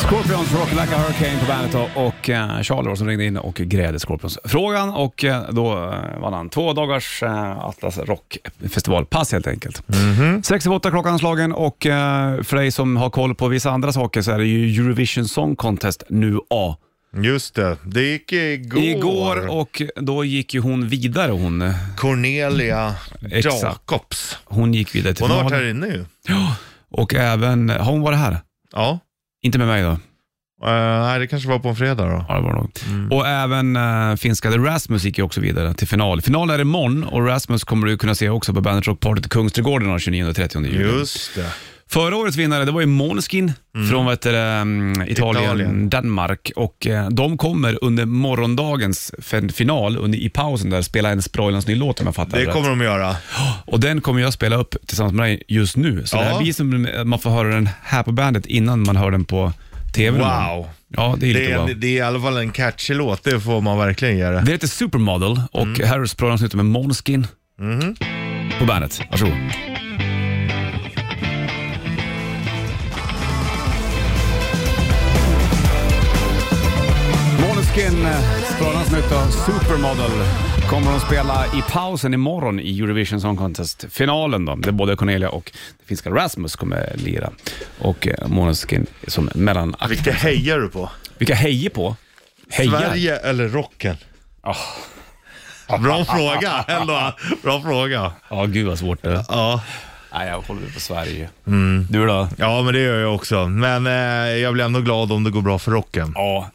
[SPEAKER 2] Scorpions Rock Like a Hurricane på bandet då, och eh, Charlie då som ringde in och grävde Scorpions-frågan och eh, då eh, vann han två dagars eh, Atlas Rock-festivalpass helt enkelt.
[SPEAKER 3] Mhm.
[SPEAKER 2] Sex över åtta klockan slagen och eh, för dig som har koll på vissa andra saker så är det ju Eurovision Song Contest nu A.
[SPEAKER 3] Just det, det gick igår.
[SPEAKER 2] Igår och då gick ju hon vidare hon.
[SPEAKER 3] Cornelia
[SPEAKER 2] Exakt.
[SPEAKER 3] Jacobs.
[SPEAKER 2] Hon gick vidare till
[SPEAKER 3] Hon har
[SPEAKER 2] final.
[SPEAKER 3] varit här inne ju.
[SPEAKER 2] Och även, har hon varit här?
[SPEAKER 3] Ja.
[SPEAKER 2] Inte med mig då.
[SPEAKER 3] Eh, nej, det kanske var på en fredag då.
[SPEAKER 2] Ja, det var det nog.
[SPEAKER 3] Mm.
[SPEAKER 2] Och även eh, finska The Rasmus gick ju också vidare till final. Final är imorgon och Rasmus kommer du kunna se också på Bandet Rock Party till Kungsträdgården den 29 och 30 juli.
[SPEAKER 3] Just det.
[SPEAKER 2] Förra årets vinnare det var ju Måneskin från vad heter det, um, Italien,
[SPEAKER 3] Italien.
[SPEAKER 2] Danmark. Och eh, De kommer under morgondagens fin- final, under, i pausen där, spela en Sproilans ny låt om jag fattar
[SPEAKER 3] Det
[SPEAKER 2] rätt.
[SPEAKER 3] kommer de göra.
[SPEAKER 2] Och den kommer jag spela upp tillsammans med dig just nu. Så det här
[SPEAKER 3] Ja.
[SPEAKER 2] blir som eh, man får höra den här på bandet innan man hör den på TV.
[SPEAKER 3] Wow.
[SPEAKER 2] Ja, det är lite
[SPEAKER 3] Det är,
[SPEAKER 2] wow.
[SPEAKER 3] det är i alla fall en catchy låt, det får man verkligen ge det.
[SPEAKER 2] Det heter Supermodel och här är sprången slutar med Måneskin på bandet. Varsågod. Måneskin, eh, sprången slutar Supermodel. Kommer de spela i pausen imorgon i Eurovision Song Contest, finalen då, där både Cornelia och det finska Rasmus kommer lira. Och eh, Måneskin som mellanakt.
[SPEAKER 3] Vilka hejar du på?
[SPEAKER 2] Vilka hejer på? Hejar?
[SPEAKER 3] Sverige eller rocken?
[SPEAKER 2] Ah.
[SPEAKER 3] Bra fråga ändå. Bra fråga.
[SPEAKER 2] Ja, gud vad svårt det är.
[SPEAKER 3] Ja.
[SPEAKER 2] Nej, jag håller på Sverige. Du då?
[SPEAKER 3] ja, men det gör jag också. Men eh, jag blir ändå glad om det går bra för rocken.
[SPEAKER 2] Ja.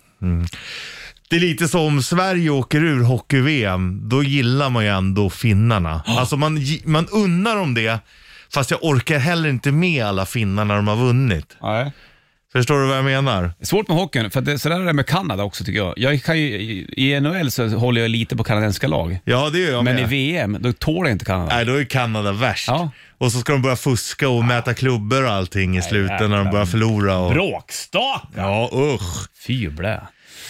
[SPEAKER 3] Det är lite som om Sverige åker ur hockey-VM, då gillar man ju ändå finnarna. Alltså man, gi- man unnar dem det, fast jag orkar heller inte med alla finnar när de har vunnit.
[SPEAKER 2] Nej.
[SPEAKER 3] Förstår du vad jag menar?
[SPEAKER 2] Det är svårt med hockeyn, för att det, sådär är det med Kanada också tycker jag. jag kan ju, I NHL så håller jag lite på kanadensiska lag,
[SPEAKER 3] Ja, det gör jag
[SPEAKER 2] men i
[SPEAKER 3] med.
[SPEAKER 2] VM då tål jag inte Kanada.
[SPEAKER 3] Nej, då är Kanada värst.
[SPEAKER 2] Ja.
[SPEAKER 3] Och så ska de börja fuska och mäta klubbor och allting i slutet när de börjar förlora.
[SPEAKER 2] Äh,
[SPEAKER 3] Och...
[SPEAKER 2] Bråkstake!
[SPEAKER 3] Ja, usch.
[SPEAKER 2] Fy blä.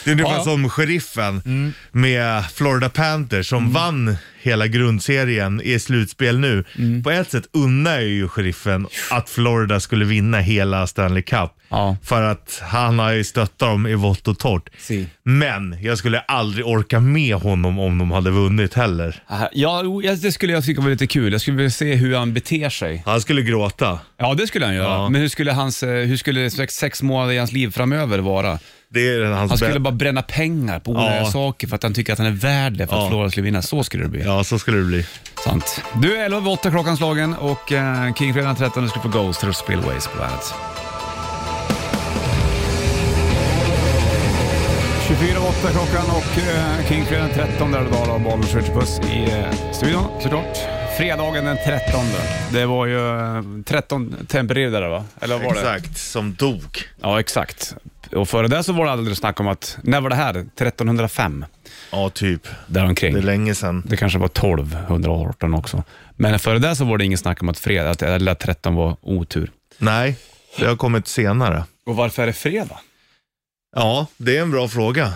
[SPEAKER 3] Det är ungefär
[SPEAKER 2] Ja, Mm. ja.
[SPEAKER 3] som sheriffen med Florida Panthers
[SPEAKER 2] Mm.
[SPEAKER 3] som vann hela grundserien i slutspel nu.
[SPEAKER 2] Mm.
[SPEAKER 3] På ett sätt unnar jag ju sheriffen att Florida skulle vinna hela Stanley Cup.
[SPEAKER 2] Ja.
[SPEAKER 3] För att han har ju stöttat dem i vått och torrt.
[SPEAKER 2] Si.
[SPEAKER 3] Men jag skulle aldrig orka med honom om de hade vunnit heller.
[SPEAKER 2] Äh, Ja, jo, jag- det skulle jag tycka var lite kul. Jag skulle vilja se hur han beter sig.
[SPEAKER 3] Han skulle gråta.
[SPEAKER 2] Ja, det skulle han göra.
[SPEAKER 3] Ja.
[SPEAKER 2] Men hur skulle, hans, eh, hur skulle sex, sex månader i hans liv framöver vara?
[SPEAKER 3] Det är hans
[SPEAKER 2] Han skulle
[SPEAKER 3] bä-
[SPEAKER 2] bara bränna pengar på onödiga
[SPEAKER 3] Ja.
[SPEAKER 2] saker för att han tycker att han är värd det för att
[SPEAKER 3] Ja.
[SPEAKER 2] Florida skulle vinna. Så skulle det bli.
[SPEAKER 3] Ja, så skulle det bli.
[SPEAKER 2] Sant. Du är 11 över 8 klockan slagen och eh, King fredag den 13 du ska få Ghost och Spillways på bandet. 24 över 8 klockan och eh, King fredag den 13 där idag då, Bollnäs Richard Puss i eh, studion såklart. Fredagen den 13. Det var ju eh, 13 tempererade där va? Eller vad var det?
[SPEAKER 3] Exakt, som dog.
[SPEAKER 2] Ja, exakt. Och före det så var det aldrig snack om att, när var det här? 1305.
[SPEAKER 3] Ja, typ.
[SPEAKER 2] däromkring.
[SPEAKER 3] Det är länge sedan.
[SPEAKER 2] Det kanske var 12, 118 också. Men före det så var det inget snack om att fredag, att- eller att 13 var otur.
[SPEAKER 3] Nej, det har kommit senare.
[SPEAKER 2] Och varför är det fredag?
[SPEAKER 3] Ja, det är en bra fråga.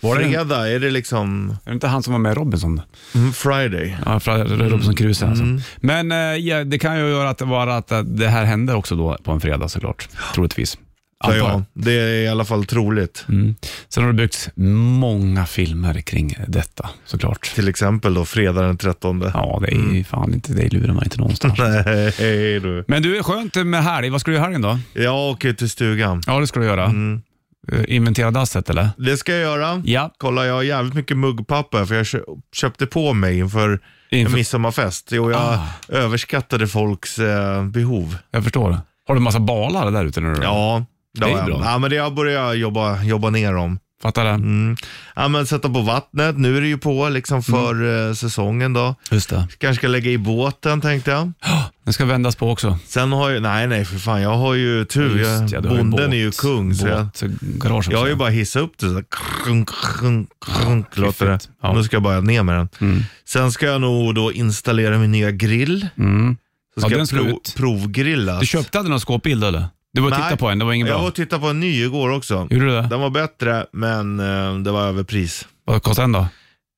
[SPEAKER 2] Var det-
[SPEAKER 3] Fredag, är det liksom
[SPEAKER 2] Är det inte han som var med i Robinson?
[SPEAKER 3] mm, Friday?
[SPEAKER 2] Ja, fra- Robinson Crusoe alltså. Men eh, ja, det kan ju göra att det, bara att eh, det här hände också då på en fredag såklart, troligtvis.
[SPEAKER 3] Ja,
[SPEAKER 2] Antar jag.
[SPEAKER 3] ja, det är i alla fall troligt.
[SPEAKER 2] Mm. Sen har det byggts många filmer kring detta såklart.
[SPEAKER 3] Till exempel då fredag den 13.
[SPEAKER 2] Ja, det är ju fan inte, det lurar man inte någonstans.
[SPEAKER 3] Nej du.
[SPEAKER 2] Men du, är skönt med helg. Vad ska du göra i helgen då?
[SPEAKER 3] Jag åker till stugan.
[SPEAKER 2] Ja, det ska du göra. Eh, Inventera dasset eller?
[SPEAKER 3] Det ska jag göra.
[SPEAKER 2] Ja.
[SPEAKER 3] Kolla, jag har jävligt mycket muggpapper för jag kö- köpte på mig inför,
[SPEAKER 2] Inför-
[SPEAKER 3] en midsommarfest. Och jag
[SPEAKER 2] Ah.
[SPEAKER 3] överskattade folks eh, behov.
[SPEAKER 2] Jag förstår. Har du massa balar där ute nu? då?
[SPEAKER 3] Ja,
[SPEAKER 2] Det är
[SPEAKER 3] har jag.
[SPEAKER 2] bra.
[SPEAKER 3] Ja, men det har jag börjat jobba, jobba ner dem.
[SPEAKER 2] Fattar det?
[SPEAKER 3] Mm. Ja, men sätta på vattnet. Nu är det ju på
[SPEAKER 2] Mm.
[SPEAKER 3] liksom för eh, säsongen då.
[SPEAKER 2] Just det.
[SPEAKER 3] Kanske ska lägga i båten tänkte jag.
[SPEAKER 2] Den ska vändas på också.
[SPEAKER 3] Sen har jag, nej nej för fan, jag har ju tur.
[SPEAKER 2] Just ja,
[SPEAKER 3] jag,
[SPEAKER 2] du har
[SPEAKER 3] bonden
[SPEAKER 2] båt-
[SPEAKER 3] är ju kung. Så jag,
[SPEAKER 2] båtgarage också.
[SPEAKER 3] jag har ju bara hissat upp det så här, krunk, krunk, krunk, låter det.
[SPEAKER 2] fiffigt. Ja.
[SPEAKER 3] Nu ska jag bara ner med den. Sen ska jag nog då installera min nya grill.
[SPEAKER 2] Mm.
[SPEAKER 3] Så
[SPEAKER 2] Ja,
[SPEAKER 3] ska
[SPEAKER 2] den
[SPEAKER 3] jag
[SPEAKER 2] ska
[SPEAKER 3] prov,
[SPEAKER 2] ut.
[SPEAKER 3] provgrillas.
[SPEAKER 2] Du köpte aldrig någon skåpbild eller? Du var och tittade på en, det var ingen
[SPEAKER 3] Jag var
[SPEAKER 2] bra.
[SPEAKER 3] och tittade på en ny igår också.
[SPEAKER 2] Gjorde du det?
[SPEAKER 3] Den var bättre, men eh, det var överpris.
[SPEAKER 2] Vad kostade den då?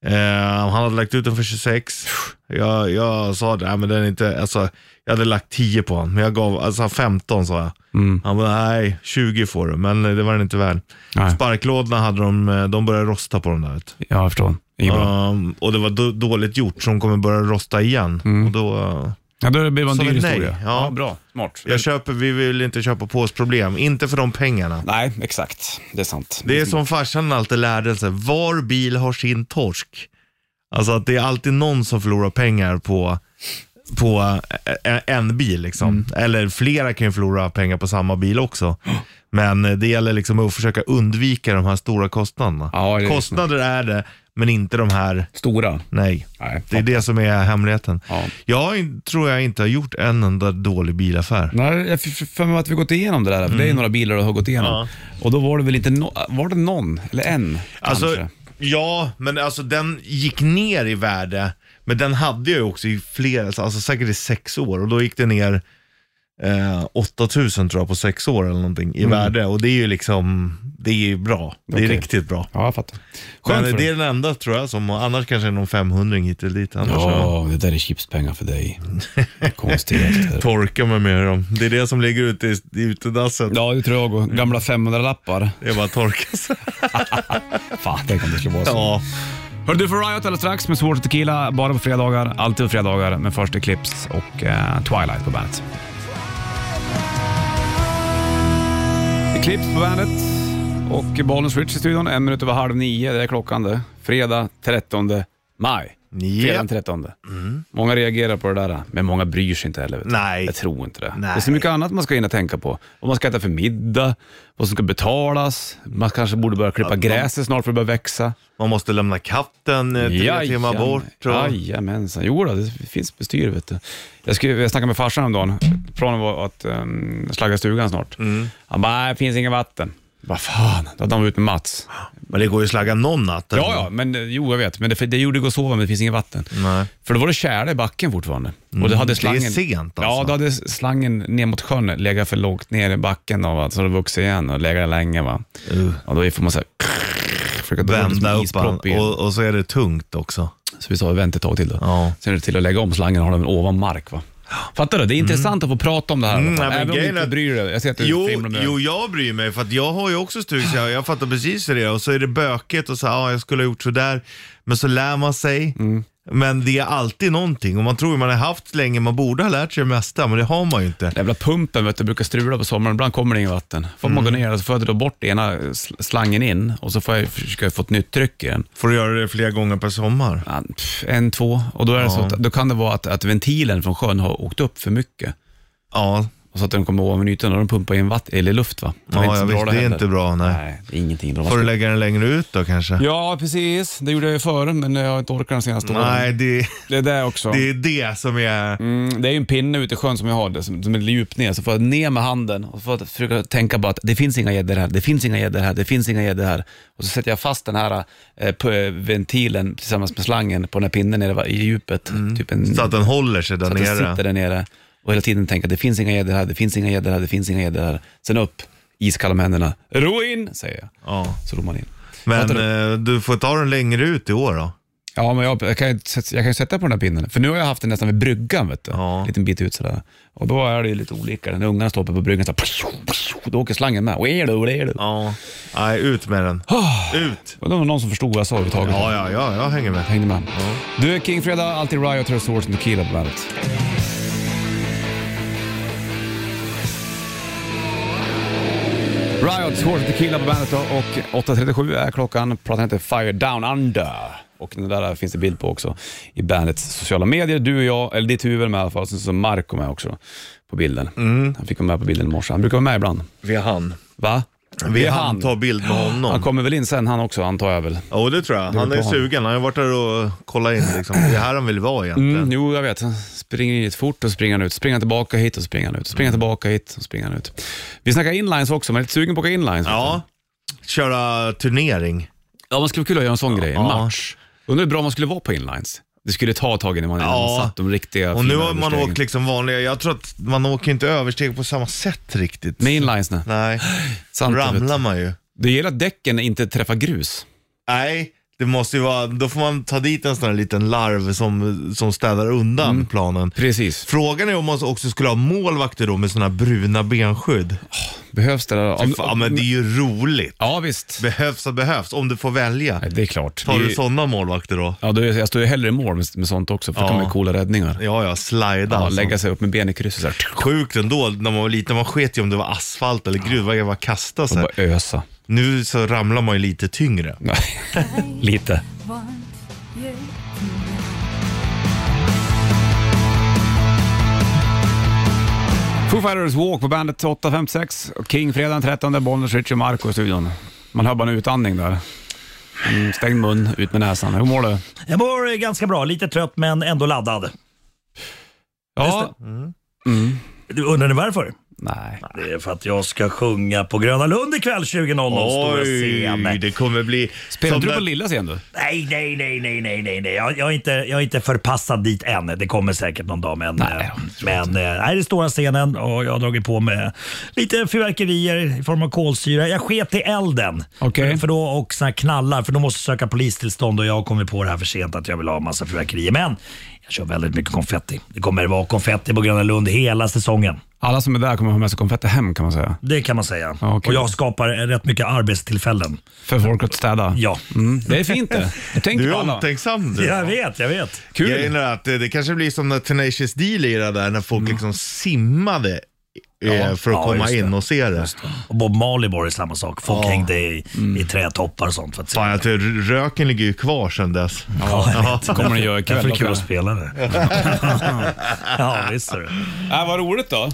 [SPEAKER 3] Eh, han hade lagt ut den för 26. Jag, jag sa det, nej, men den är inte, alltså, jag hade lagt 10 på honom, men jag gav alltså 15 sa jag.
[SPEAKER 2] Mm.
[SPEAKER 3] Han bara, nej 20 får du, men eh, det var den inte värd.
[SPEAKER 2] Nej,
[SPEAKER 3] Sparklådorna hade de, eh, de började rosta på dem där. vet du.
[SPEAKER 2] ja, jag förstår. Inget bra.
[SPEAKER 3] Ehm, och det var då, dåligt gjort, så de kommer börja rosta igen.
[SPEAKER 2] Mm.
[SPEAKER 3] Och då, eh,
[SPEAKER 2] Ja, då blir det en
[SPEAKER 3] som
[SPEAKER 2] dyr
[SPEAKER 3] ett nej.
[SPEAKER 2] historia.
[SPEAKER 3] Ja.
[SPEAKER 2] bra. Smart.
[SPEAKER 3] jag köper, vi vill inte köpa på oss problem, inte för de pengarna.
[SPEAKER 2] Nej, exakt. Det är sant.
[SPEAKER 3] Det är som farsan alltid lärde sig, var bil har sin torsk. Alltså att det är alltid någon som förlorar pengar på, på eh, en bil. Liksom.
[SPEAKER 2] Mm.
[SPEAKER 3] Eller flera kan ju förlora pengar på samma bil också. Men eh, det gäller liksom att försöka undvika de här stora kostnaderna.
[SPEAKER 2] Ja, det är
[SPEAKER 3] Kostnader är det, men inte de här,
[SPEAKER 2] Stora.
[SPEAKER 3] nej.
[SPEAKER 2] Nej.
[SPEAKER 3] Det är det som är hemligheten.
[SPEAKER 2] Ja.
[SPEAKER 3] Jag har in- tror jag inte har gjort en enda dålig bilaffär.
[SPEAKER 2] Nej, jag fick för mig att vi gått igenom det där. för Det
[SPEAKER 3] Mm.
[SPEAKER 2] är ju några bilar du har gått igenom. Och då var det väl inte no var det någon, eller en
[SPEAKER 3] Alltså,
[SPEAKER 2] kanske?
[SPEAKER 3] ja, men alltså den gick ner i värde. Men den hade jag ju också i flera, alltså säkert i sex år. Och då gick det ner eh, 8000 tror jag på sex år eller någonting i värde. Och det är ju liksom, det är ju bra. Det är
[SPEAKER 2] Mm. Okej.
[SPEAKER 3] riktigt bra.
[SPEAKER 2] Ja, jag fattar. Skönt för
[SPEAKER 3] Men det
[SPEAKER 2] dig.
[SPEAKER 3] är den enda tror jag som, annars kanske det är någon 500 hit eller dit. Annars ja.
[SPEAKER 2] Ja, det där är chipspengar för dig. Konstigt.
[SPEAKER 3] Torka mig med dem. Det är det som ligger ute i, i utedasset.
[SPEAKER 2] Ja, det tror jag också. Gamla 500-lappar.
[SPEAKER 3] Det är bara att torka sig.
[SPEAKER 2] Fan, tänk om det skulle vara så.
[SPEAKER 3] Ja.
[SPEAKER 2] Hör du får Riot alldeles strax med Svårt och Tequila, bara på fredagar. Alltid på fredagar, men först Eclipse och eh, Twilight på bandet. Eclipse på bandet och Bollnäs Switch i studion. En minut över halv nio, det är klockan det. Fredag 13 maj. Fredag den
[SPEAKER 3] Japp.
[SPEAKER 2] 13. Många reagerar på det där, men många bryr sig inte heller. vet du.
[SPEAKER 3] Nej.
[SPEAKER 2] Jag tror inte det.
[SPEAKER 3] Nej.
[SPEAKER 2] Det är så mycket annat man ska hinna tänka på. Vad man ska äta för middag, vad som ska betalas, man kanske borde börja klippa
[SPEAKER 3] Ja, de-
[SPEAKER 2] gräset snart för att börja växa.
[SPEAKER 3] Man måste lämna katten eh, tre timmar
[SPEAKER 2] Jajamän-
[SPEAKER 3] bort. Och...
[SPEAKER 2] Jajamensan. Jo då, det finns bestyr vet du. Jag, skulle, jag snackade med farsan om dagen. Planen var att um, slagga stugan snart.
[SPEAKER 3] Mm.
[SPEAKER 2] Han bara, nej, det finns inget vatten. Vad fan, då hade han varit ute med Mats.
[SPEAKER 3] Men det går ju att slagga någon natt.
[SPEAKER 2] Ja, ja, men eh, jo jag vet. Men det, det gjorde gå att sova men det finns inget vatten.
[SPEAKER 3] Nej.
[SPEAKER 2] För då var det tjäle i backen fortfarande. Och det hade
[SPEAKER 3] Mm. det är
[SPEAKER 2] slangen,
[SPEAKER 3] sent, alltså.
[SPEAKER 2] Ja, då hade slangen ner mot sjön legat för lågt ner i backen då, va? så det vuxit igen och legat där länge. Va? Och då får man så här, försöka då var det som
[SPEAKER 3] Uh. Vända
[SPEAKER 2] en
[SPEAKER 3] upp han
[SPEAKER 2] ispropp i-
[SPEAKER 3] och, och så är det tungt också.
[SPEAKER 2] Så vi sa vänta ett tag till då.
[SPEAKER 3] Ja.
[SPEAKER 2] Sen är det till att lägga om slangen och ha den ovan mark. Va? Fattar du? Det är intressant att få prata om det här.
[SPEAKER 3] Mm,
[SPEAKER 2] Mm,
[SPEAKER 3] nej,
[SPEAKER 2] Även
[SPEAKER 3] men
[SPEAKER 2] om du
[SPEAKER 3] grejen
[SPEAKER 2] inte
[SPEAKER 3] är-
[SPEAKER 2] bryr dig. Jag ser att du
[SPEAKER 3] Jo,
[SPEAKER 2] flimrar med
[SPEAKER 3] jo, jag bryr mig för att jag har ju också stuga så jag, jag fattar precis hur det är. Och så är det bökigt och så ja, jag skulle ha gjort sådär. Men så lär man sig.
[SPEAKER 2] Mm.
[SPEAKER 3] Men det är alltid någonting och man tror ju man har haft länge, man borde ha lärt sig det mesta, men det har man ju inte.
[SPEAKER 2] Den jävla pumpen vet du, brukar strula på sommaren. Ibland kommer det inget vatten. får man gå
[SPEAKER 3] Mm.
[SPEAKER 2] ner och så får jag dra bort ena sl- slangen in och så får jag försöka få ett nytt tryck i den.
[SPEAKER 3] Får du göra det flera gånger per sommar?
[SPEAKER 2] Ja, pff, En, två och då, är det så att, då kan det vara att, att ventilen från sjön har åkt upp för mycket.
[SPEAKER 3] Ja,
[SPEAKER 2] Och Och så att den kommer ovan ytan och de pumpar in vatt, eller luft va? Den
[SPEAKER 3] Ja,
[SPEAKER 2] så
[SPEAKER 3] ja, visst, det är
[SPEAKER 2] heller.
[SPEAKER 3] inte bra, nej.
[SPEAKER 7] Ingenting bra.
[SPEAKER 3] Får du lägga den längre ut då kanske?
[SPEAKER 2] Ja, precis. Det gjorde jag ju förr, men jag har inte orkat de senaste åren.
[SPEAKER 3] Nej, det,
[SPEAKER 2] Det är det också.
[SPEAKER 3] det är det som är...
[SPEAKER 2] Mm, det är ju en pinne ute i sjön som jag har, det, som, som är djupt ner. Så får jag ner med handen och får jag försöka tänka bara att det finns inga gäddor här, det finns inga gäddor här, det finns inga gäddor här. Och så sätter jag fast den här eh, på, eh, ventilen tillsammans med slangen på den här pinnen nere va- i djupet. Typ en,
[SPEAKER 3] Så att den håller sig där
[SPEAKER 2] så att den sitter
[SPEAKER 3] nere.
[SPEAKER 2] där nere. Och hela tiden tänka det finns inga gäddor här, det finns inga gäddor här, det finns inga gäddor här. Sen upp, iskalla med händerna. Ro in, säger jag.
[SPEAKER 3] Ja.
[SPEAKER 2] Så ror man in.
[SPEAKER 3] Men
[SPEAKER 2] Fattar
[SPEAKER 3] eh, du får ta den längre ut i år då.
[SPEAKER 2] Ja, men jag, jag, kan, ju sätta- jag kan ju sätta på den här pinnen. För nu har jag haft den nästan vid bryggan, vet du.
[SPEAKER 3] Ja.
[SPEAKER 2] En liten bit ut sådär. Och då är det ju lite olika. När ungarna står uppe på bryggan så här, då åker slangen med. Och är det, och är det.
[SPEAKER 3] Ja. Nej, ut med den.
[SPEAKER 2] Ah.
[SPEAKER 3] Ut!
[SPEAKER 2] Och det var någon som förstod vad jag sa överhuvudtaget.
[SPEAKER 3] Ja, ja, ja, jag hänger med.
[SPEAKER 2] Hängde med. Du är King Freda, alltid Riot, Rest Wars and Tequila på bandet. Riot, Horse and Tequila på bandet då, och 8.37 är klockan. Pratar heter Fire Down Under. Och den där finns det bild på också i bandets sociala medier. Du och jag, eller ditt huvud med i alla fall. Sen så är Marco med också på bilden.
[SPEAKER 3] Mm.
[SPEAKER 2] Han fick vara med på bilden i morse. Han brukar vara med ibland.
[SPEAKER 3] Vi är han.
[SPEAKER 2] Va?
[SPEAKER 3] Vi är han. Ta bild med
[SPEAKER 2] Han
[SPEAKER 3] honom.
[SPEAKER 2] kommer väl in sen han också antar jag väl.
[SPEAKER 3] Ja, det tror jag. Han
[SPEAKER 2] bra.
[SPEAKER 3] är sugen. Han har varit där och kollat in liksom. Det är här han vill vara egentligen.
[SPEAKER 2] Mm, jo, jag vet. Han springer hit fort och springer han ut. Springer han tillbaka hit och springer han ut. Springer han tillbaka hit och springer han ut. Vi snackar inlines också. Man är lite sugen på att åka inlines.
[SPEAKER 3] Ja. Köra turnering.
[SPEAKER 2] ja, man skulle vara kul att göra en sån grej. En
[SPEAKER 3] Ja.
[SPEAKER 2] match. Undrar hur bra man skulle vara på inlines. Det skulle ta ett tag innan man
[SPEAKER 3] Ja.
[SPEAKER 2] satt de riktiga
[SPEAKER 3] Och
[SPEAKER 2] fina
[SPEAKER 3] nu har man
[SPEAKER 2] överstegen.
[SPEAKER 3] åkt liksom vanliga, jag tror att man åker inte översteg på samma sätt riktigt.
[SPEAKER 2] Med inlines, nej.
[SPEAKER 3] Nej,
[SPEAKER 2] Sant, jag vet.
[SPEAKER 3] ramlar man ju.
[SPEAKER 2] Det gäller att däcken inte träffar grus.
[SPEAKER 3] Nej, det måste ju vara, då får man ta dit en sån här liten larv som, som städar undan
[SPEAKER 2] Mm.
[SPEAKER 3] planen.
[SPEAKER 2] Precis.
[SPEAKER 3] Frågan är om man också skulle ha målvakter då med såna här bruna benskydd.
[SPEAKER 2] Behövs det? Där? Om,
[SPEAKER 3] Typ, Ja men det är ju roligt.
[SPEAKER 2] ja, visst.
[SPEAKER 3] Behövs och behövs, om du får välja.
[SPEAKER 2] Nej, det är klart.
[SPEAKER 3] Tar
[SPEAKER 2] Det är-
[SPEAKER 3] du sådana målvakter då?
[SPEAKER 2] ja, då är, jag står ju hellre i mål med, med sånt också, för det
[SPEAKER 3] Ja.
[SPEAKER 2] kommer ju coola räddningar.
[SPEAKER 3] Ja, ja, slida
[SPEAKER 2] Ja,
[SPEAKER 3] alltså.
[SPEAKER 2] lägga sig upp med ben i krysset så här.
[SPEAKER 3] Sjukt ändå, när man var liten, man sket ju om det var asfalt eller grus, vad det var kasta sig.
[SPEAKER 2] Bara ösa.
[SPEAKER 3] Nu så ramlar man ju lite tyngre.
[SPEAKER 2] Nej, lite. Foo Fighters Walk på bandet 8.56. och King fredag den 13, Bollnäs, Richie och Marco i studion. Man hör bara en utandning där. Mm, stängd mun, ut med näsan. Hur mår du?
[SPEAKER 8] Jag mår eh, ganska bra, lite trött men ändå laddad.
[SPEAKER 2] Ja.
[SPEAKER 8] Du undrar ni varför?
[SPEAKER 2] Nej.
[SPEAKER 8] Det är för att jag ska sjunga på Gröna Lund ikväll 20.00 stora
[SPEAKER 3] Oj,
[SPEAKER 8] scen.
[SPEAKER 3] det kommer bli...
[SPEAKER 2] Spelar
[SPEAKER 3] som
[SPEAKER 2] inte du
[SPEAKER 3] när-
[SPEAKER 2] på lilla scen du?
[SPEAKER 8] Nej, nej, nej, nej, nej, nej, nej. Jag, jag, är inte, jag är inte förpassad dit än. Det kommer säkert någon dag. Men,
[SPEAKER 2] Nej,
[SPEAKER 8] eh,
[SPEAKER 2] jag tror
[SPEAKER 8] men eh, nej, det är stora scenen och jag har dragit på med lite fyrverkerier i form av kolsyra. Jag sket i elden
[SPEAKER 2] Okej.
[SPEAKER 8] för då, och såna här knallar för de måste söka polistillstånd och jag har kommit på det här för sent att jag vill ha massa fyrverkerier. Men jag kör väldigt mycket konfetti. Det kommer vara konfetti på Gröna Lund hela säsongen.
[SPEAKER 2] Alla som är där kommer ha med sig konfetti hem kan man säga.
[SPEAKER 8] Det kan man säga.
[SPEAKER 2] Ja, okej.
[SPEAKER 8] Och jag skapar rätt mycket arbetstillfällen.
[SPEAKER 2] För folk att städa.
[SPEAKER 8] Ja.
[SPEAKER 2] Mm, det är fint det. Du tänker
[SPEAKER 3] Du
[SPEAKER 2] på
[SPEAKER 3] är
[SPEAKER 2] alla.
[SPEAKER 3] omtänksam du.
[SPEAKER 8] Jag vet, jag vet.
[SPEAKER 2] Kul.
[SPEAKER 3] Jag menar att eh, det, det kanske blir som när Tenacious D lirade där, när folk
[SPEAKER 2] Mm.
[SPEAKER 3] liksom simmade eh, för att
[SPEAKER 8] ja,
[SPEAKER 3] komma
[SPEAKER 8] just det.
[SPEAKER 3] in och se det.
[SPEAKER 8] Och Bob Marley var det samma sak. Folk
[SPEAKER 3] Ja.
[SPEAKER 8] hängde i, i
[SPEAKER 2] Mm.
[SPEAKER 8] trätoppar och sånt för att se.
[SPEAKER 3] Fan, jag tror röken ligger ju kvar sedan dess.
[SPEAKER 8] Mm. Ja, jag vet.
[SPEAKER 2] kommer den göra ikväll.
[SPEAKER 8] Därför är det kul
[SPEAKER 2] då,
[SPEAKER 8] att spela det. ja, visst är det.
[SPEAKER 2] Äh, vad roligt då.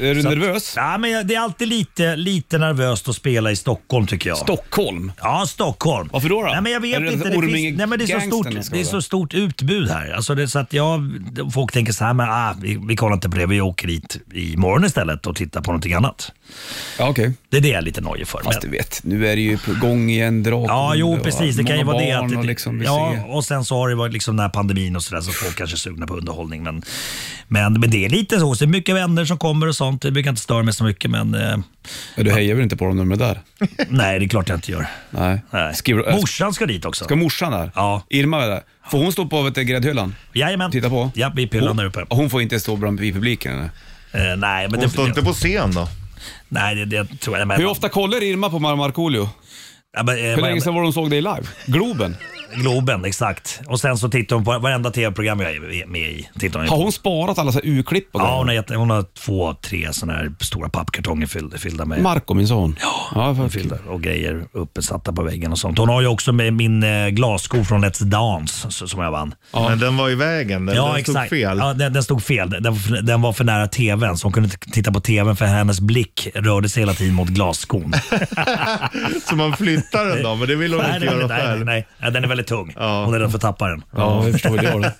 [SPEAKER 2] Är du nervös?
[SPEAKER 8] Ja, men jag- det är alltid lite, lite nervöst att spela i Stockholm tycker jag.
[SPEAKER 2] Stockholm.
[SPEAKER 8] Ja, Stockholm.
[SPEAKER 2] Varför då då?
[SPEAKER 8] Nej, men jag
[SPEAKER 2] Är
[SPEAKER 8] vet
[SPEAKER 2] det
[SPEAKER 8] inte. Det,
[SPEAKER 2] Orminge
[SPEAKER 8] finns, nej, men det, är så
[SPEAKER 2] gangstern
[SPEAKER 8] stort,
[SPEAKER 2] som ska
[SPEAKER 8] det är
[SPEAKER 2] vara
[SPEAKER 8] så
[SPEAKER 2] där?
[SPEAKER 8] stort utbud här. Alltså det, är så att jag, folk tänker så här, men, ah, vi, vi kollar inte på det. Vi åker hit imorgon istället och tittar på någonting annat.
[SPEAKER 2] Ja, okej.
[SPEAKER 8] Det är det jag är lite nojig för.
[SPEAKER 2] Fast du
[SPEAKER 8] men-
[SPEAKER 2] vet, nu är det ju på gång igen, Draken.
[SPEAKER 8] Ja, jo
[SPEAKER 2] och
[SPEAKER 8] precis. Det kan ju
[SPEAKER 2] många
[SPEAKER 8] vara det.
[SPEAKER 2] barn
[SPEAKER 8] Att
[SPEAKER 2] och liksom, vi
[SPEAKER 8] ja,
[SPEAKER 2] ser-
[SPEAKER 8] och sen så har det varit liksom den här pandemin och sådär så folk kanske är sugna på underhållning. Men, men, men det är lite så. Så det är mycket vänner som kommer och sånt. Det brukar inte störa mig så mycket men eh,
[SPEAKER 2] Men du hejar väl inte på dem när de är där?
[SPEAKER 8] nej, det är klart jag inte gör.
[SPEAKER 2] Nej.
[SPEAKER 8] Nej.
[SPEAKER 2] Skriver, äh,
[SPEAKER 8] Morsan ska dit också.
[SPEAKER 2] ska morsan där?
[SPEAKER 8] Ja.
[SPEAKER 2] Irma är där. Får hon stå på vet, du, gräddhyllan?
[SPEAKER 8] Jajamän.
[SPEAKER 2] Titta på? Oh.
[SPEAKER 8] Ja, vi pillar
[SPEAKER 2] Hon-
[SPEAKER 8] där uppe.
[SPEAKER 2] Hon får inte stå bland i publiken? Eller?
[SPEAKER 8] Eh, nej, men
[SPEAKER 3] Hon
[SPEAKER 8] det,
[SPEAKER 3] står inte på scen då?
[SPEAKER 8] nej, det, det tror jag. Men,
[SPEAKER 2] Hur ofta kollar Irma på Mar- Markoolio?
[SPEAKER 8] Ja, men, eh,
[SPEAKER 2] Hur
[SPEAKER 8] vad-
[SPEAKER 2] länge sedan var hon såg dig live? Globen?
[SPEAKER 8] Globen, exakt. Och sen så tittar hon på varenda tv-program jag är med i. Tittar hon ju
[SPEAKER 2] Har
[SPEAKER 8] på.
[SPEAKER 2] hon sparat alla så här urklipp och
[SPEAKER 8] Ja,
[SPEAKER 2] grejer?
[SPEAKER 8] hon har, gett, hon har två, tre sådana här stora pappkartonger fyllda, fyllda med
[SPEAKER 2] Marco, min son. Ja, ja för
[SPEAKER 8] fyllda och grejer uppsatta på väggen och sånt. Hon har ju också med min eh, glassko från Let's Dance så- som jag vann.
[SPEAKER 3] Men den var i vägen, den, den stod fel.
[SPEAKER 8] Ja, den, den stod fel. Den, den var för nära tvn, så hon kunde inte titta på tvn för hennes blick rörde sig hela tiden mot glasskon.
[SPEAKER 3] Så man flyttar den då, men det vill hon
[SPEAKER 8] nej,
[SPEAKER 3] inte
[SPEAKER 8] nej,
[SPEAKER 3] göra
[SPEAKER 8] nej, nej,
[SPEAKER 3] själv.
[SPEAKER 8] nej. Ja, den är väldigt tung.
[SPEAKER 3] Ja.
[SPEAKER 8] Hon är rädd för att tappa den.
[SPEAKER 2] Ja, jag förstår det.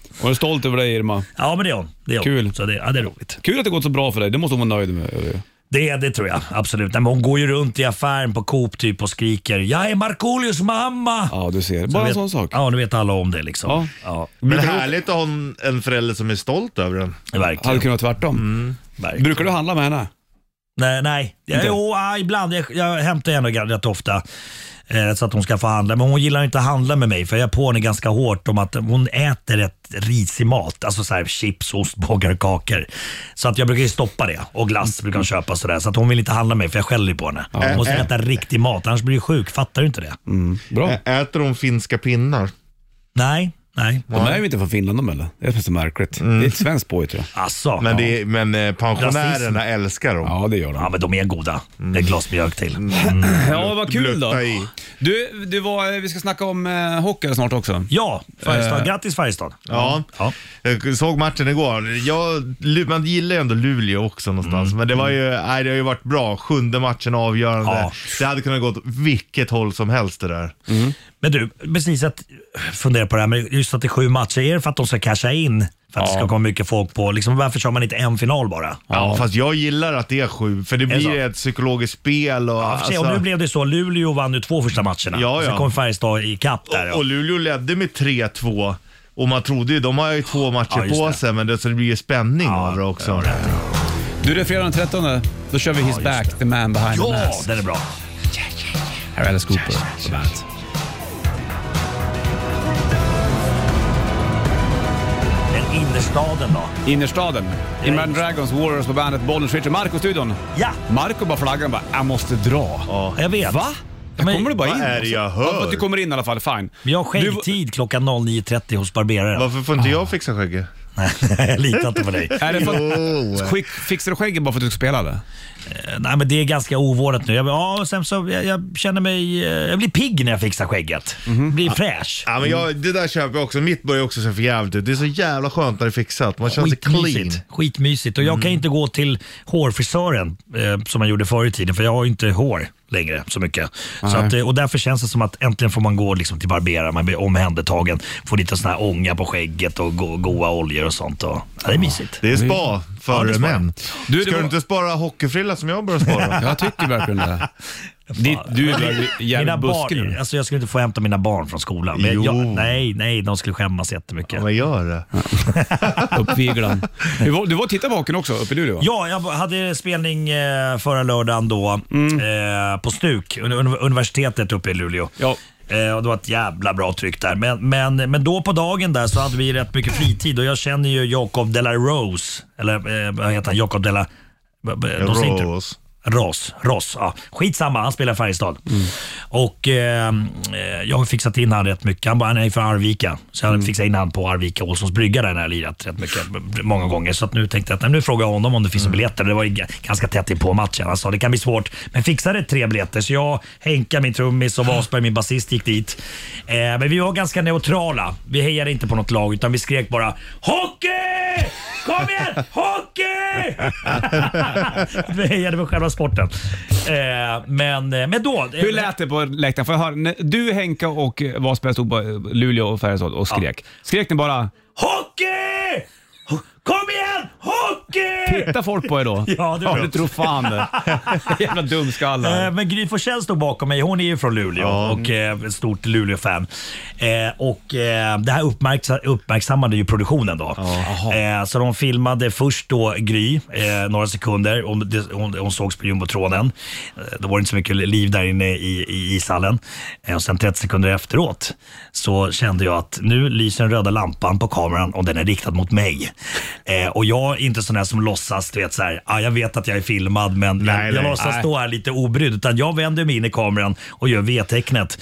[SPEAKER 2] Hon är stolt över dig Irma.
[SPEAKER 8] Ja, men det är hon. Det är hon.
[SPEAKER 2] Kul.
[SPEAKER 8] Så det, ja, det är roligt.
[SPEAKER 2] Kul att det gått så bra för dig. Det måste hon vara nöjd med.
[SPEAKER 8] Det, det tror jag absolut. Nej, men hon går ju runt i affären på Coop typ och skriker “Jag är Markoolios mamma!”
[SPEAKER 2] Ja, du ser.
[SPEAKER 8] Så
[SPEAKER 2] Bara en
[SPEAKER 8] vet-
[SPEAKER 2] sån sak.
[SPEAKER 8] Ja, nu vet alla om det liksom.
[SPEAKER 2] Ja.
[SPEAKER 8] Ja.
[SPEAKER 3] Men härligt att ha en- en förälder som är stolt över den.
[SPEAKER 2] Hade
[SPEAKER 8] verkligen.
[SPEAKER 2] kunnat vara tvärtom.
[SPEAKER 8] Mm. verkligen.
[SPEAKER 2] Brukar du handla med henne?
[SPEAKER 8] Nej, nej. Ja,
[SPEAKER 2] Inte?
[SPEAKER 8] jo, ja, ibland. Jag, jag hämtar henne gan- rätt ofta. Eh, så att hon ska få handla. Men hon gillar inte att handla med mig för jag är på henne ganska hårt om att hon äter rätt risig mat. Alltså så här chips, ostbågar, kakor. Så att jag brukar ju stoppa det. Och glass brukar hon köpa sådär. Så att hon vill inte handla med mig för jag skäller ju på henne. Hon måste äta riktig mat annars blir du sjuk. Fattar du inte det?
[SPEAKER 3] Mm.
[SPEAKER 2] Bra.
[SPEAKER 3] Ä- Äter de finska pinnar?
[SPEAKER 8] Nej, nej.
[SPEAKER 2] De är ju inte från Finland de eller? Det är så märkligt.
[SPEAKER 3] Mm.
[SPEAKER 2] Det är ett svenskt påhitt tror jag.
[SPEAKER 8] Alltså.
[SPEAKER 3] Men, det är, men eh,
[SPEAKER 8] Rasism.
[SPEAKER 3] pensionärerna älskar dem.
[SPEAKER 2] Ja, det gör de.
[SPEAKER 8] Ja men de är goda.
[SPEAKER 3] Mm.
[SPEAKER 8] Ett glas mjölk till.
[SPEAKER 2] Ja, vad kul då.
[SPEAKER 3] Blötta i.
[SPEAKER 2] Du, du var, vi ska snacka om eh, hockey snart också.
[SPEAKER 8] Ja, Färjestad. Grattis Färjestad.
[SPEAKER 3] Eh. Ja.
[SPEAKER 8] Ja.
[SPEAKER 3] Jag såg matchen igår. Jag, Lu- man gillar ju ändå Luleå också någonstans, men det, var ju, nej, det har ju varit bra. Sjunde matchen avgörande.
[SPEAKER 8] Ja.
[SPEAKER 3] Det hade kunnat gå åt vilket håll som helst det där.
[SPEAKER 8] Men du, precis att fundera på det här med just att det är sju matcher. Är det för att de ska casha in? För att det ska komma mycket folk på? Liksom, varför kör man inte en final bara?
[SPEAKER 3] Ja, Alltså- fast jag gillar att det är sju, för det
[SPEAKER 8] det
[SPEAKER 3] blir
[SPEAKER 8] så?
[SPEAKER 3] ett psykologiskt spel. Och,
[SPEAKER 8] Ja, för sig, och nu
[SPEAKER 3] alltså-
[SPEAKER 8] blev det så. Luleå vann ju två första matcherna.
[SPEAKER 3] Ja,
[SPEAKER 8] Och Sen
[SPEAKER 3] ja.
[SPEAKER 8] kom Färjestad i kapp där.
[SPEAKER 3] Och
[SPEAKER 8] Ja.
[SPEAKER 3] Luleå ledde med 3-2. Och man trodde ju, de har ju två matcher
[SPEAKER 8] Ja, just
[SPEAKER 3] på
[SPEAKER 8] det.
[SPEAKER 3] sig, men det, så det blir ju spänning av det också.
[SPEAKER 2] Du, det är fredag den 13. Då kör vi His Back, The Man Behind the
[SPEAKER 8] Ja,
[SPEAKER 2] Mask.
[SPEAKER 8] den är bra.
[SPEAKER 2] Här är Alice Cooper på bandet.
[SPEAKER 8] Den innerstaden då.
[SPEAKER 2] Innerstaden. Imran Dragons, Warriors på bandet, Bollnäs Richard, Marco i studion.
[SPEAKER 8] Ja.
[SPEAKER 2] Marco bara flaggan bara, jag måste dra.
[SPEAKER 3] Ja.
[SPEAKER 8] Jag vet.
[SPEAKER 2] Va? Där
[SPEAKER 8] Men-
[SPEAKER 2] kommer du bara in. alltså?
[SPEAKER 3] Vad är det jag
[SPEAKER 2] Ja,
[SPEAKER 3] hör?
[SPEAKER 2] att du kommer in i alla fall, fine.
[SPEAKER 8] Men jag har
[SPEAKER 2] Du-
[SPEAKER 8] skäggtid klockan 09.30 hos barberaren.
[SPEAKER 3] Varför får inte jag fixa skägget?
[SPEAKER 8] jag litar inte på dig.
[SPEAKER 2] Är det för att, skick, fixar du skägget bara för att du ska spela det?
[SPEAKER 8] Nej, men det är ganska ovårdat nu. Jag, ja, och sen så, jag, jag känner mig... eh, Jag blir pigg när jag fixar skägget. Blir fräsch.
[SPEAKER 3] Ja, men jag, det där köper jag också. Mitt börjar också se för jävligt ut. Det är så jävla skönt när det är fixat. Man känner sig clean. Mm.
[SPEAKER 8] Skitmysigt. Skitmysigt. Och jag kan inte gå till hårfrisören eh, som man gjorde förr i tiden, för jag har ju inte hår längre så mycket. Så att, eh, och därför känns det som att äntligen får man gå liksom till barberaren, man blir omhändertagen, får lite sån här ånga på skägget och go- goa oljor och sånt. Och, ja, det är mysigt.
[SPEAKER 3] Det är spa för
[SPEAKER 8] det är spa.
[SPEAKER 3] män.
[SPEAKER 2] Du, det
[SPEAKER 3] Ska
[SPEAKER 2] var-
[SPEAKER 3] du inte spara hockeyfrilla som jag börjar spara?
[SPEAKER 2] Jag tycker verkligen det. Ditt, du är väl
[SPEAKER 8] Mina
[SPEAKER 2] jävligt buskig
[SPEAKER 8] barn,
[SPEAKER 2] nu.
[SPEAKER 8] alltså jag skulle inte få hämta mina barn från skolan. Men jag,
[SPEAKER 3] Jo.
[SPEAKER 8] nej, nej, de skulle skämmas jättemycket.
[SPEAKER 3] Vad gör det?
[SPEAKER 2] Uppviglan. Du var, du var och tittade på hockeyn också, uppe i Luleå?
[SPEAKER 8] Ja, jag hade spelning eh, förra lördagen då eh, på Stuk, un- un- universitetet uppe i Luleå.
[SPEAKER 2] Ja.
[SPEAKER 8] Eh, och det var ett jävla bra tryck där. Men, men, men då på dagen där så hade vi rätt mycket fritid och jag känner ju Jacob de la Rose. Eller eh, vad heter han? Jacob de la... Eh, De säger inte-
[SPEAKER 3] Rås.
[SPEAKER 8] Ross, Ross, ja. Skitsamma, han spelar i Färjestad. Och eh, eh, jag har fixat in han rätt mycket. Han, bara, han är från Arvika, så jag har fixat in han på Arvika Olssons brygga där när jag lirat rätt mycket, många gånger. Så att nu tänkte jag att nej, nu frågar jag honom om det finns biljetter. Det var ju g- ganska tätt in på matchen. Han sa det kan bli svårt, men fixade tre biljetter. Så jag, Henka, min trummis och Wasberg, min basist, gick dit. Eh, men vi var ganska neutrala. Vi hejade inte på något lag, utan vi skrek bara “Hockey! Kom igen! Hockey!” Vi hejade på själva sporten. Eh, men, eh, men då...
[SPEAKER 2] Hur lät det på läktaren? Får jag höra? När Du, Henka och eh, Wasberg stod på eh, Luleå och Färjestad och skrek. Skrek ni bara
[SPEAKER 8] Hockey! Ho- Kom igen! Hockey!
[SPEAKER 2] “Titta folk på er då”?
[SPEAKER 8] Ja, det
[SPEAKER 2] ja,
[SPEAKER 8] var-
[SPEAKER 2] du tror fan det. Jävla
[SPEAKER 8] Eh,
[SPEAKER 2] dumskallar.
[SPEAKER 8] Men Gry Forssell stod bakom mig. Hon är ju från Luleå och
[SPEAKER 3] Mm.
[SPEAKER 8] eh, ett stort Luleå-fan. Eh, och eh, det här uppmärksa- uppmärksammade ju produktionen då. Eh, så de filmade först då Gry, eh, några sekunder. Hon, det, hon, hon sågs på jumbotronen. Eh, då var det inte så mycket liv där inne i, i ishallen. Eh, och sen 30 sekunder efteråt så kände jag att nu lyser den röda lampan på kameran och den är riktad mot mig. Eh, och jag är inte sån här som låtsas, du vet så här, ah, jag vet att jag är filmad men
[SPEAKER 3] Nej,
[SPEAKER 8] jag, jag
[SPEAKER 3] nej.
[SPEAKER 8] låtsas stå här lite obrydd. Utan jag vänder mig in i kameran och gör V-tecknet.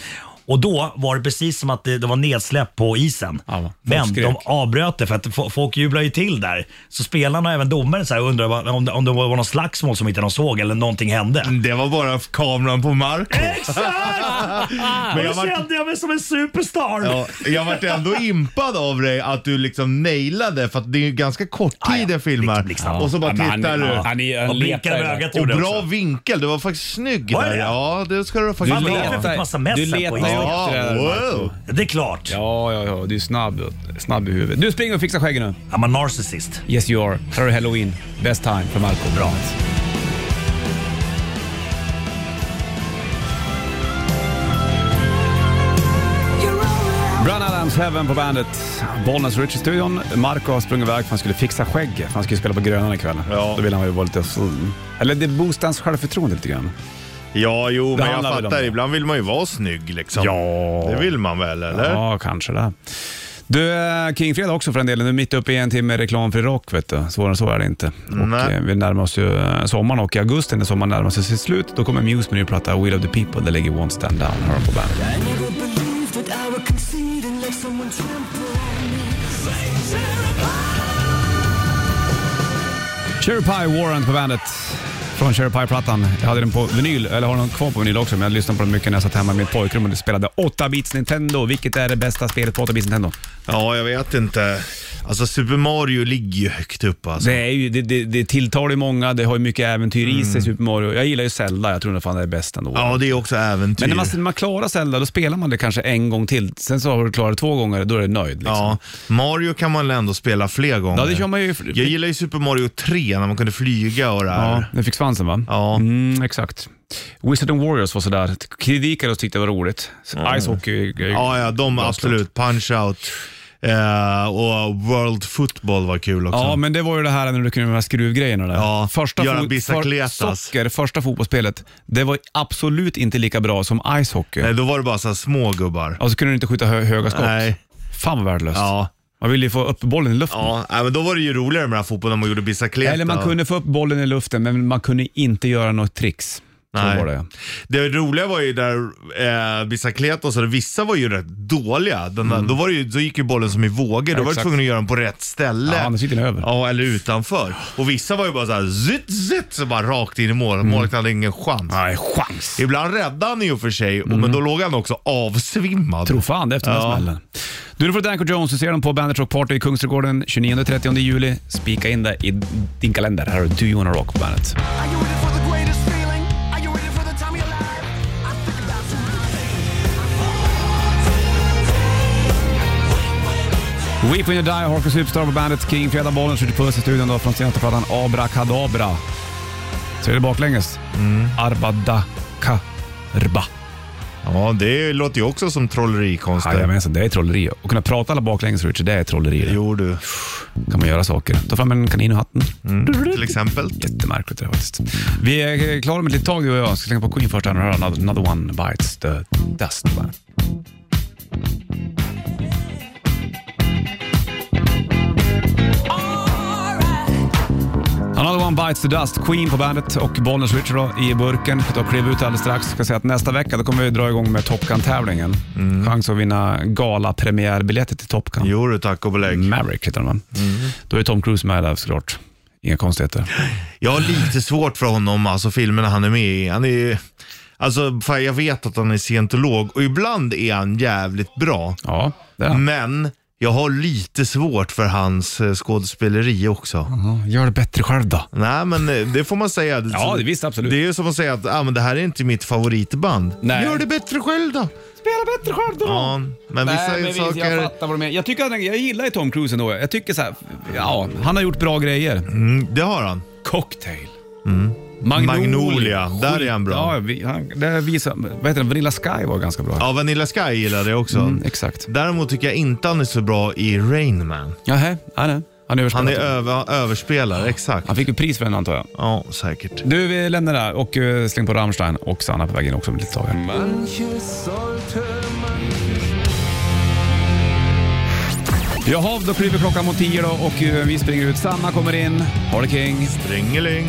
[SPEAKER 8] Och då var det precis som att det, det var nedsläpp på isen.
[SPEAKER 2] Ja, folk
[SPEAKER 8] Men
[SPEAKER 2] skrek.
[SPEAKER 8] de avbröt det för att fo- folk jublar ju till där. Så spelarna och även domaren så här undrar vad- om det, om det var någon slagsmål som inte de såg eller någonting hände.
[SPEAKER 3] Det var bara kameran på Marco.
[SPEAKER 8] Exakt!
[SPEAKER 3] Men
[SPEAKER 8] Men
[SPEAKER 3] jag
[SPEAKER 8] jag
[SPEAKER 3] var-
[SPEAKER 8] kände jag mig som en superstar.
[SPEAKER 3] Ja, jag vart ändå impad av dig att du liksom nailade, för att det är ju ganska kort
[SPEAKER 8] Ja,
[SPEAKER 3] tid
[SPEAKER 8] ja.
[SPEAKER 3] jag filmar.
[SPEAKER 8] Blixt, blixt. Ja.
[SPEAKER 3] Och så bara
[SPEAKER 2] Liksom, Ja, men han-
[SPEAKER 3] tittar du.
[SPEAKER 2] ja, Han är
[SPEAKER 8] Och
[SPEAKER 2] han letar
[SPEAKER 8] blinkade med
[SPEAKER 2] där.
[SPEAKER 8] ögat
[SPEAKER 3] Och
[SPEAKER 8] gjorde jag
[SPEAKER 3] bra
[SPEAKER 8] också.
[SPEAKER 3] vinkel, du var faktiskt snygg
[SPEAKER 8] Var
[SPEAKER 3] där.
[SPEAKER 8] jag?
[SPEAKER 3] Ja, det ska du faktiskt
[SPEAKER 8] Fan,
[SPEAKER 3] ha.
[SPEAKER 8] det är väl för att passa mest
[SPEAKER 2] du
[SPEAKER 8] här på
[SPEAKER 2] letar ju
[SPEAKER 8] Instagram.
[SPEAKER 2] efter det där.
[SPEAKER 3] Ja, wow.
[SPEAKER 8] Det är klart.
[SPEAKER 2] Ja,
[SPEAKER 8] Ja.
[SPEAKER 2] ja, ja. Du är snabb, snabb i huvudet. Du, spring och fixa skägget nu.
[SPEAKER 8] I'm a narcissist.
[SPEAKER 2] Yes you are. Här har du Halloween. Best time för Marco.
[SPEAKER 8] Bra.
[SPEAKER 2] Brun Adams Heaven på bandet. Bollnäs Rich i studion. Marco har sprungit iväg för han skulle fixa skägg. För han skulle spela på Grönan ikväll.
[SPEAKER 3] Ja.
[SPEAKER 2] Då vill han ju vara lite... så- Eller det boostar hans självförtroende lite grann.
[SPEAKER 3] Ja, jo, men jag
[SPEAKER 2] handlar väl om
[SPEAKER 3] fattar.
[SPEAKER 2] det.
[SPEAKER 3] Ibland vill man ju vara snygg liksom.
[SPEAKER 2] Ja.
[SPEAKER 3] Det vill man väl, eller?
[SPEAKER 2] Ja, kanske det. Du, eh, Kingfredag också för en del. Nu är mitt uppe i en timme reklamfri rock, vet du. Svårare än så är det inte. Och,
[SPEAKER 3] Nej.
[SPEAKER 2] eh, vi närmar oss ju eh, sommaren och i augusti när sommaren närmar sig sitt slut, då kommer Muse med ny platta Will of the People. Där ligger One Stand Down, hör de på bandet. Cherry Pie Warrant på bandet från Cherry Pie-plattan. Jag hade den på vinyl, eller har den kvar på vinyl också, men jag lyssnade på den mycket när jag satt hemma i mitt pojkrum och spelade 8-bits Nintendo. Vilket är det bästa spelet på 8-bits Nintendo?
[SPEAKER 3] Ja, jag vet inte. Alltså Super Mario ligger ju högt upp alltså.
[SPEAKER 2] Det, är ju, det, det, det tilltar ju många, det har ju mycket äventyr i sig, Super Mario. Jag gillar ju Zelda, jag tror nog fan det är bäst ändå.
[SPEAKER 3] Mm. Ja, det är också äventyr.
[SPEAKER 2] Men när man, när man klarar Zelda, då spelar man det kanske en gång till. Sen så har du klarat det två gånger, då är du nöjd. Liksom.
[SPEAKER 3] Ja, Mario kan man ändå spela fler gånger.
[SPEAKER 2] Ja, det kör man ju.
[SPEAKER 3] Jag gillar ju Super Mario 3 när man kunde flyga och det här.
[SPEAKER 2] Ja, den fick svansen va?
[SPEAKER 3] Ja.
[SPEAKER 2] Mm, exakt. Wizard and Warriors var sådär. Kredikare tyckte det var roligt. Ice Hockey...
[SPEAKER 3] Ja, ja, de absolut. Punch-out. Eh, och World Football var kul också.
[SPEAKER 2] Ja, men det var ju det här när du kunde göra de här skruvgrejerna där.
[SPEAKER 3] Ja,
[SPEAKER 2] första
[SPEAKER 3] göra
[SPEAKER 2] fot-
[SPEAKER 3] bicicletas.
[SPEAKER 2] för- Socker, första fotbollsspelet, det var absolut inte lika bra som Ice Hockey.
[SPEAKER 3] Nej, då var det bara så här små gubbar.
[SPEAKER 2] Och så kunde du inte skjuta hö höga skott.
[SPEAKER 3] Nej.
[SPEAKER 2] Fan vad värdelöst.
[SPEAKER 3] Ja.
[SPEAKER 2] Man ville ju få upp bollen i luften.
[SPEAKER 3] Ja, nej, men då var det ju roligare med den här fotbollen när man gjorde bicicleta.
[SPEAKER 2] Eller man kunde få upp bollen i luften, men man kunde inte göra något tricks.
[SPEAKER 3] Nej.
[SPEAKER 2] Så var det.
[SPEAKER 3] Det roliga var ju där eh, bicicleta och så, vissa var ju rätt dåliga. Den där, då, var det ju, då gick ju bollen som i vågor. då var du
[SPEAKER 2] Mm. exakt.
[SPEAKER 3] tvungen att göra den på rätt ställe.
[SPEAKER 2] Ja, annars gick den över.
[SPEAKER 3] Ja, eller utanför. Och vissa var ju bara så här zitt, zitt, så bara rakt in i mål. Målvakten hade ingen chans.
[SPEAKER 2] Nej, chans.
[SPEAKER 3] Ibland räddade han ju för sig, och- men då låg han också avsvimmad.
[SPEAKER 2] Mm. Tro fan det efter den
[SPEAKER 3] Ja.
[SPEAKER 2] här smällen. Du, du får Danko Jones. Du ser dem på Bandit Rock Party i Kungsträdgården 29-30 juli. Spika in det i din kalender. Här har du Do You Wanna Rock på bandet. Weep When You Die, Harkus Superstar på bandet. King, Fredag Bollen, skjuter puss i studion då från senaste plattan Abrakadabra. Så är det baklänges. Mm. Arbadakarba.
[SPEAKER 3] Ja, det låter ju också som trollerikonster.
[SPEAKER 2] Jajamensan, det är trolleri. Att kunna prata alla baklänges, Richard, det är trolleri. det.
[SPEAKER 3] Jo du,
[SPEAKER 2] kan man göra saker. Ta fram en kanin ur hatten.
[SPEAKER 3] till exempel.
[SPEAKER 2] Jättemärkligt det där faktiskt. Vi är eh, klara med ett litet tag du och jag. Ska slänga på Queen först här och höra Another- Another One Bites the Dust. på bandet. Another One Bites the Dust, Queen på bandet och Bollnäs Richard då, i burken. Då kliver ut alldeles strax. Ska säga att nästa vecka då kommer vi dra igång med Top Gun-tävlingen. Chans att vinna galapremiärbiljetter till Top Gun.
[SPEAKER 3] Jo du, tack och belägg.
[SPEAKER 2] Maverick heter den va? Då är Tom Cruise med där såklart. Inga konstigheter.
[SPEAKER 3] Jag har lite svårt för honom, alltså filmerna han är med i. Han är ju... Alltså, fan, jag vet att han är scientolog och ibland är han jävligt bra.
[SPEAKER 2] Ja, det är han.
[SPEAKER 3] Men jag har lite svårt för hans eh, skådespeleri också.
[SPEAKER 2] Ja, Gör det bättre själv då.
[SPEAKER 3] Nej, men eh, det får man säga.
[SPEAKER 2] Ja, det- visst, absolut.
[SPEAKER 3] Det är ju som att säga att ah, men det här är inte mitt favoritband.
[SPEAKER 2] Nej.
[SPEAKER 3] Gör det bättre själv då.
[SPEAKER 2] Spela bättre själv då.
[SPEAKER 3] Ja, men vissa
[SPEAKER 2] Nej, men visst,
[SPEAKER 3] saker...
[SPEAKER 2] jag fattar vad du menar. Jag, tycker att, han- jag gillar ju Tom Cruise ändå. Jag tycker så här, ja, han har gjort bra grejer.
[SPEAKER 3] Mm, det har han.
[SPEAKER 2] Cocktail.
[SPEAKER 3] Mm. Magnolia, där är han bra.
[SPEAKER 2] Ja, vi, han, det visar, vad heter det? Vanilla Sky var ganska bra.
[SPEAKER 3] Ja, Vanilla Sky gillar det också.
[SPEAKER 2] Mm, exakt.
[SPEAKER 3] Däremot tycker jag inte han är så bra i Rain Man.
[SPEAKER 2] Jaha, han är, han är
[SPEAKER 3] Han
[SPEAKER 2] överspelad.
[SPEAKER 3] är över, överspelare, exakt.
[SPEAKER 2] han fick ju pris för den antar jag.
[SPEAKER 3] Ja, säkert.
[SPEAKER 2] Du, vi lämnar det här och eh, släng på Rammstein och Sanna på vägen också om lite tag. här. Jaha, då kryper klockan mot tio då och eh, vi springer ut. Sanna kommer in, har det king.
[SPEAKER 3] Ringeling.